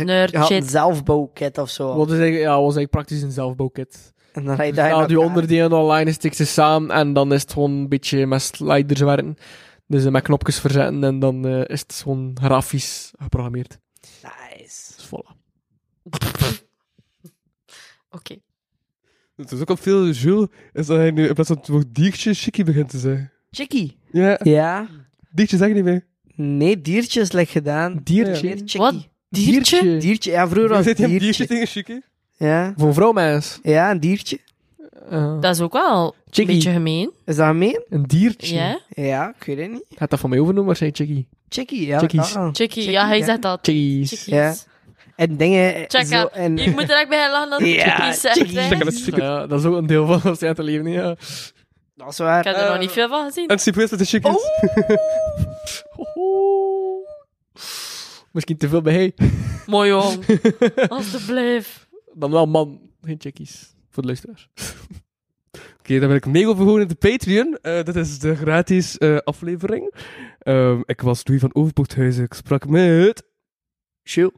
Nerd je had een shit. zelfbouwkit of zo. Wat is eigenlijk, ja, was eigenlijk praktisch een zelfbouwkit. En dan rijd je daar Ja, in Dus die elkaar. onderdelen online stik ze samen en dan is het gewoon een beetje met sliders werken. Dus eh, met knopjes verzetten en dan eh, is het gewoon grafisch geprogrammeerd. Nice. Dus voilà. Oké. Het is ook al veel Jules, is dat hij nu in plaats van het woord diertje, chickie begint te zeggen. Chickie. Ja, Ja. diertje zeg ik niet meer. Nee, diertje is slecht gedaan. Diertje? Meer chickie. Wat? Diertje? Diertje. Ja, vroeger Hoe was zit het hij een diertje diertje. tegen chickie? Ja. Voor vrouwmens. ja, een diertje. Eh, Dat is ook wel een Chickie. beetje gemeen. Is dat mee? een diertje. Ja? Ja, ik weet het niet. Gaat dat van mij overnoemen, maar zei Chickie. Chickie, ja. Chickies. dat wel. Chickie, ja, hij ja. zegt dat. Chickies. Chickies. En dingen... Check zo, out. en... Je moet er echt bij gaan lachen dat Ja, Chickie zegt. chickies. hè. Check Ik het, Ja, check het. ja, dat is ook een deel van ons uit te leven. Ja. Dat is waar. heb er nog niet veel van gezien. En Cyprus dat de chickie is. Hoho. Misschien te veel bij hey. Mooi jong. Alsjeblieft. Dan wel man. Geen Chickies. Voor de luisteraars. Oké, dan ben ik mega overgehouden in de Patreon. Eh, dit is de gratis eh, aflevering. Ehm, ik was Louis van Overbochthuizen. Ik sprak met... Chill.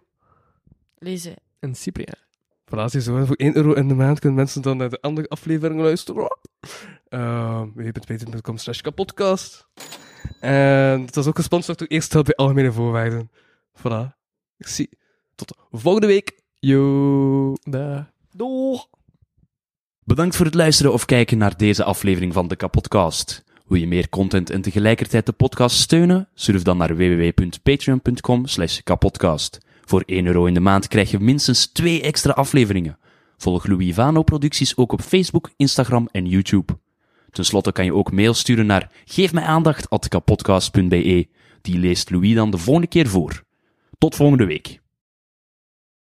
Lezen. En Cyprien. Voilà, zie je zo, Voor 1 euro in de maand kunnen mensen dan naar de andere aflevering luisteren. Ehm www.patreon.com slash kapodcast. En het was ook gesponsord door Eerst Help bij Algemene Voorwaarden. Voilà. Ik zie. Tot volgende week. Yo. Daar. Doeg. Bedankt voor het luisteren of kijken naar deze aflevering van de Kapodcast. Wil je meer content en tegelijkertijd de podcast steunen? Surf dan naar www.patreon.com slash kapodcast. Voor 1 euro in de maand krijg je minstens 2 extra afleveringen. Volg Louis Vano producties ook op Facebook, Instagram en YouTube. Ten slotte kan je ook mail sturen naar geefmijaandacht.kapodcast.be. Die leest Louis dan de volgende keer voor. Tot volgende week.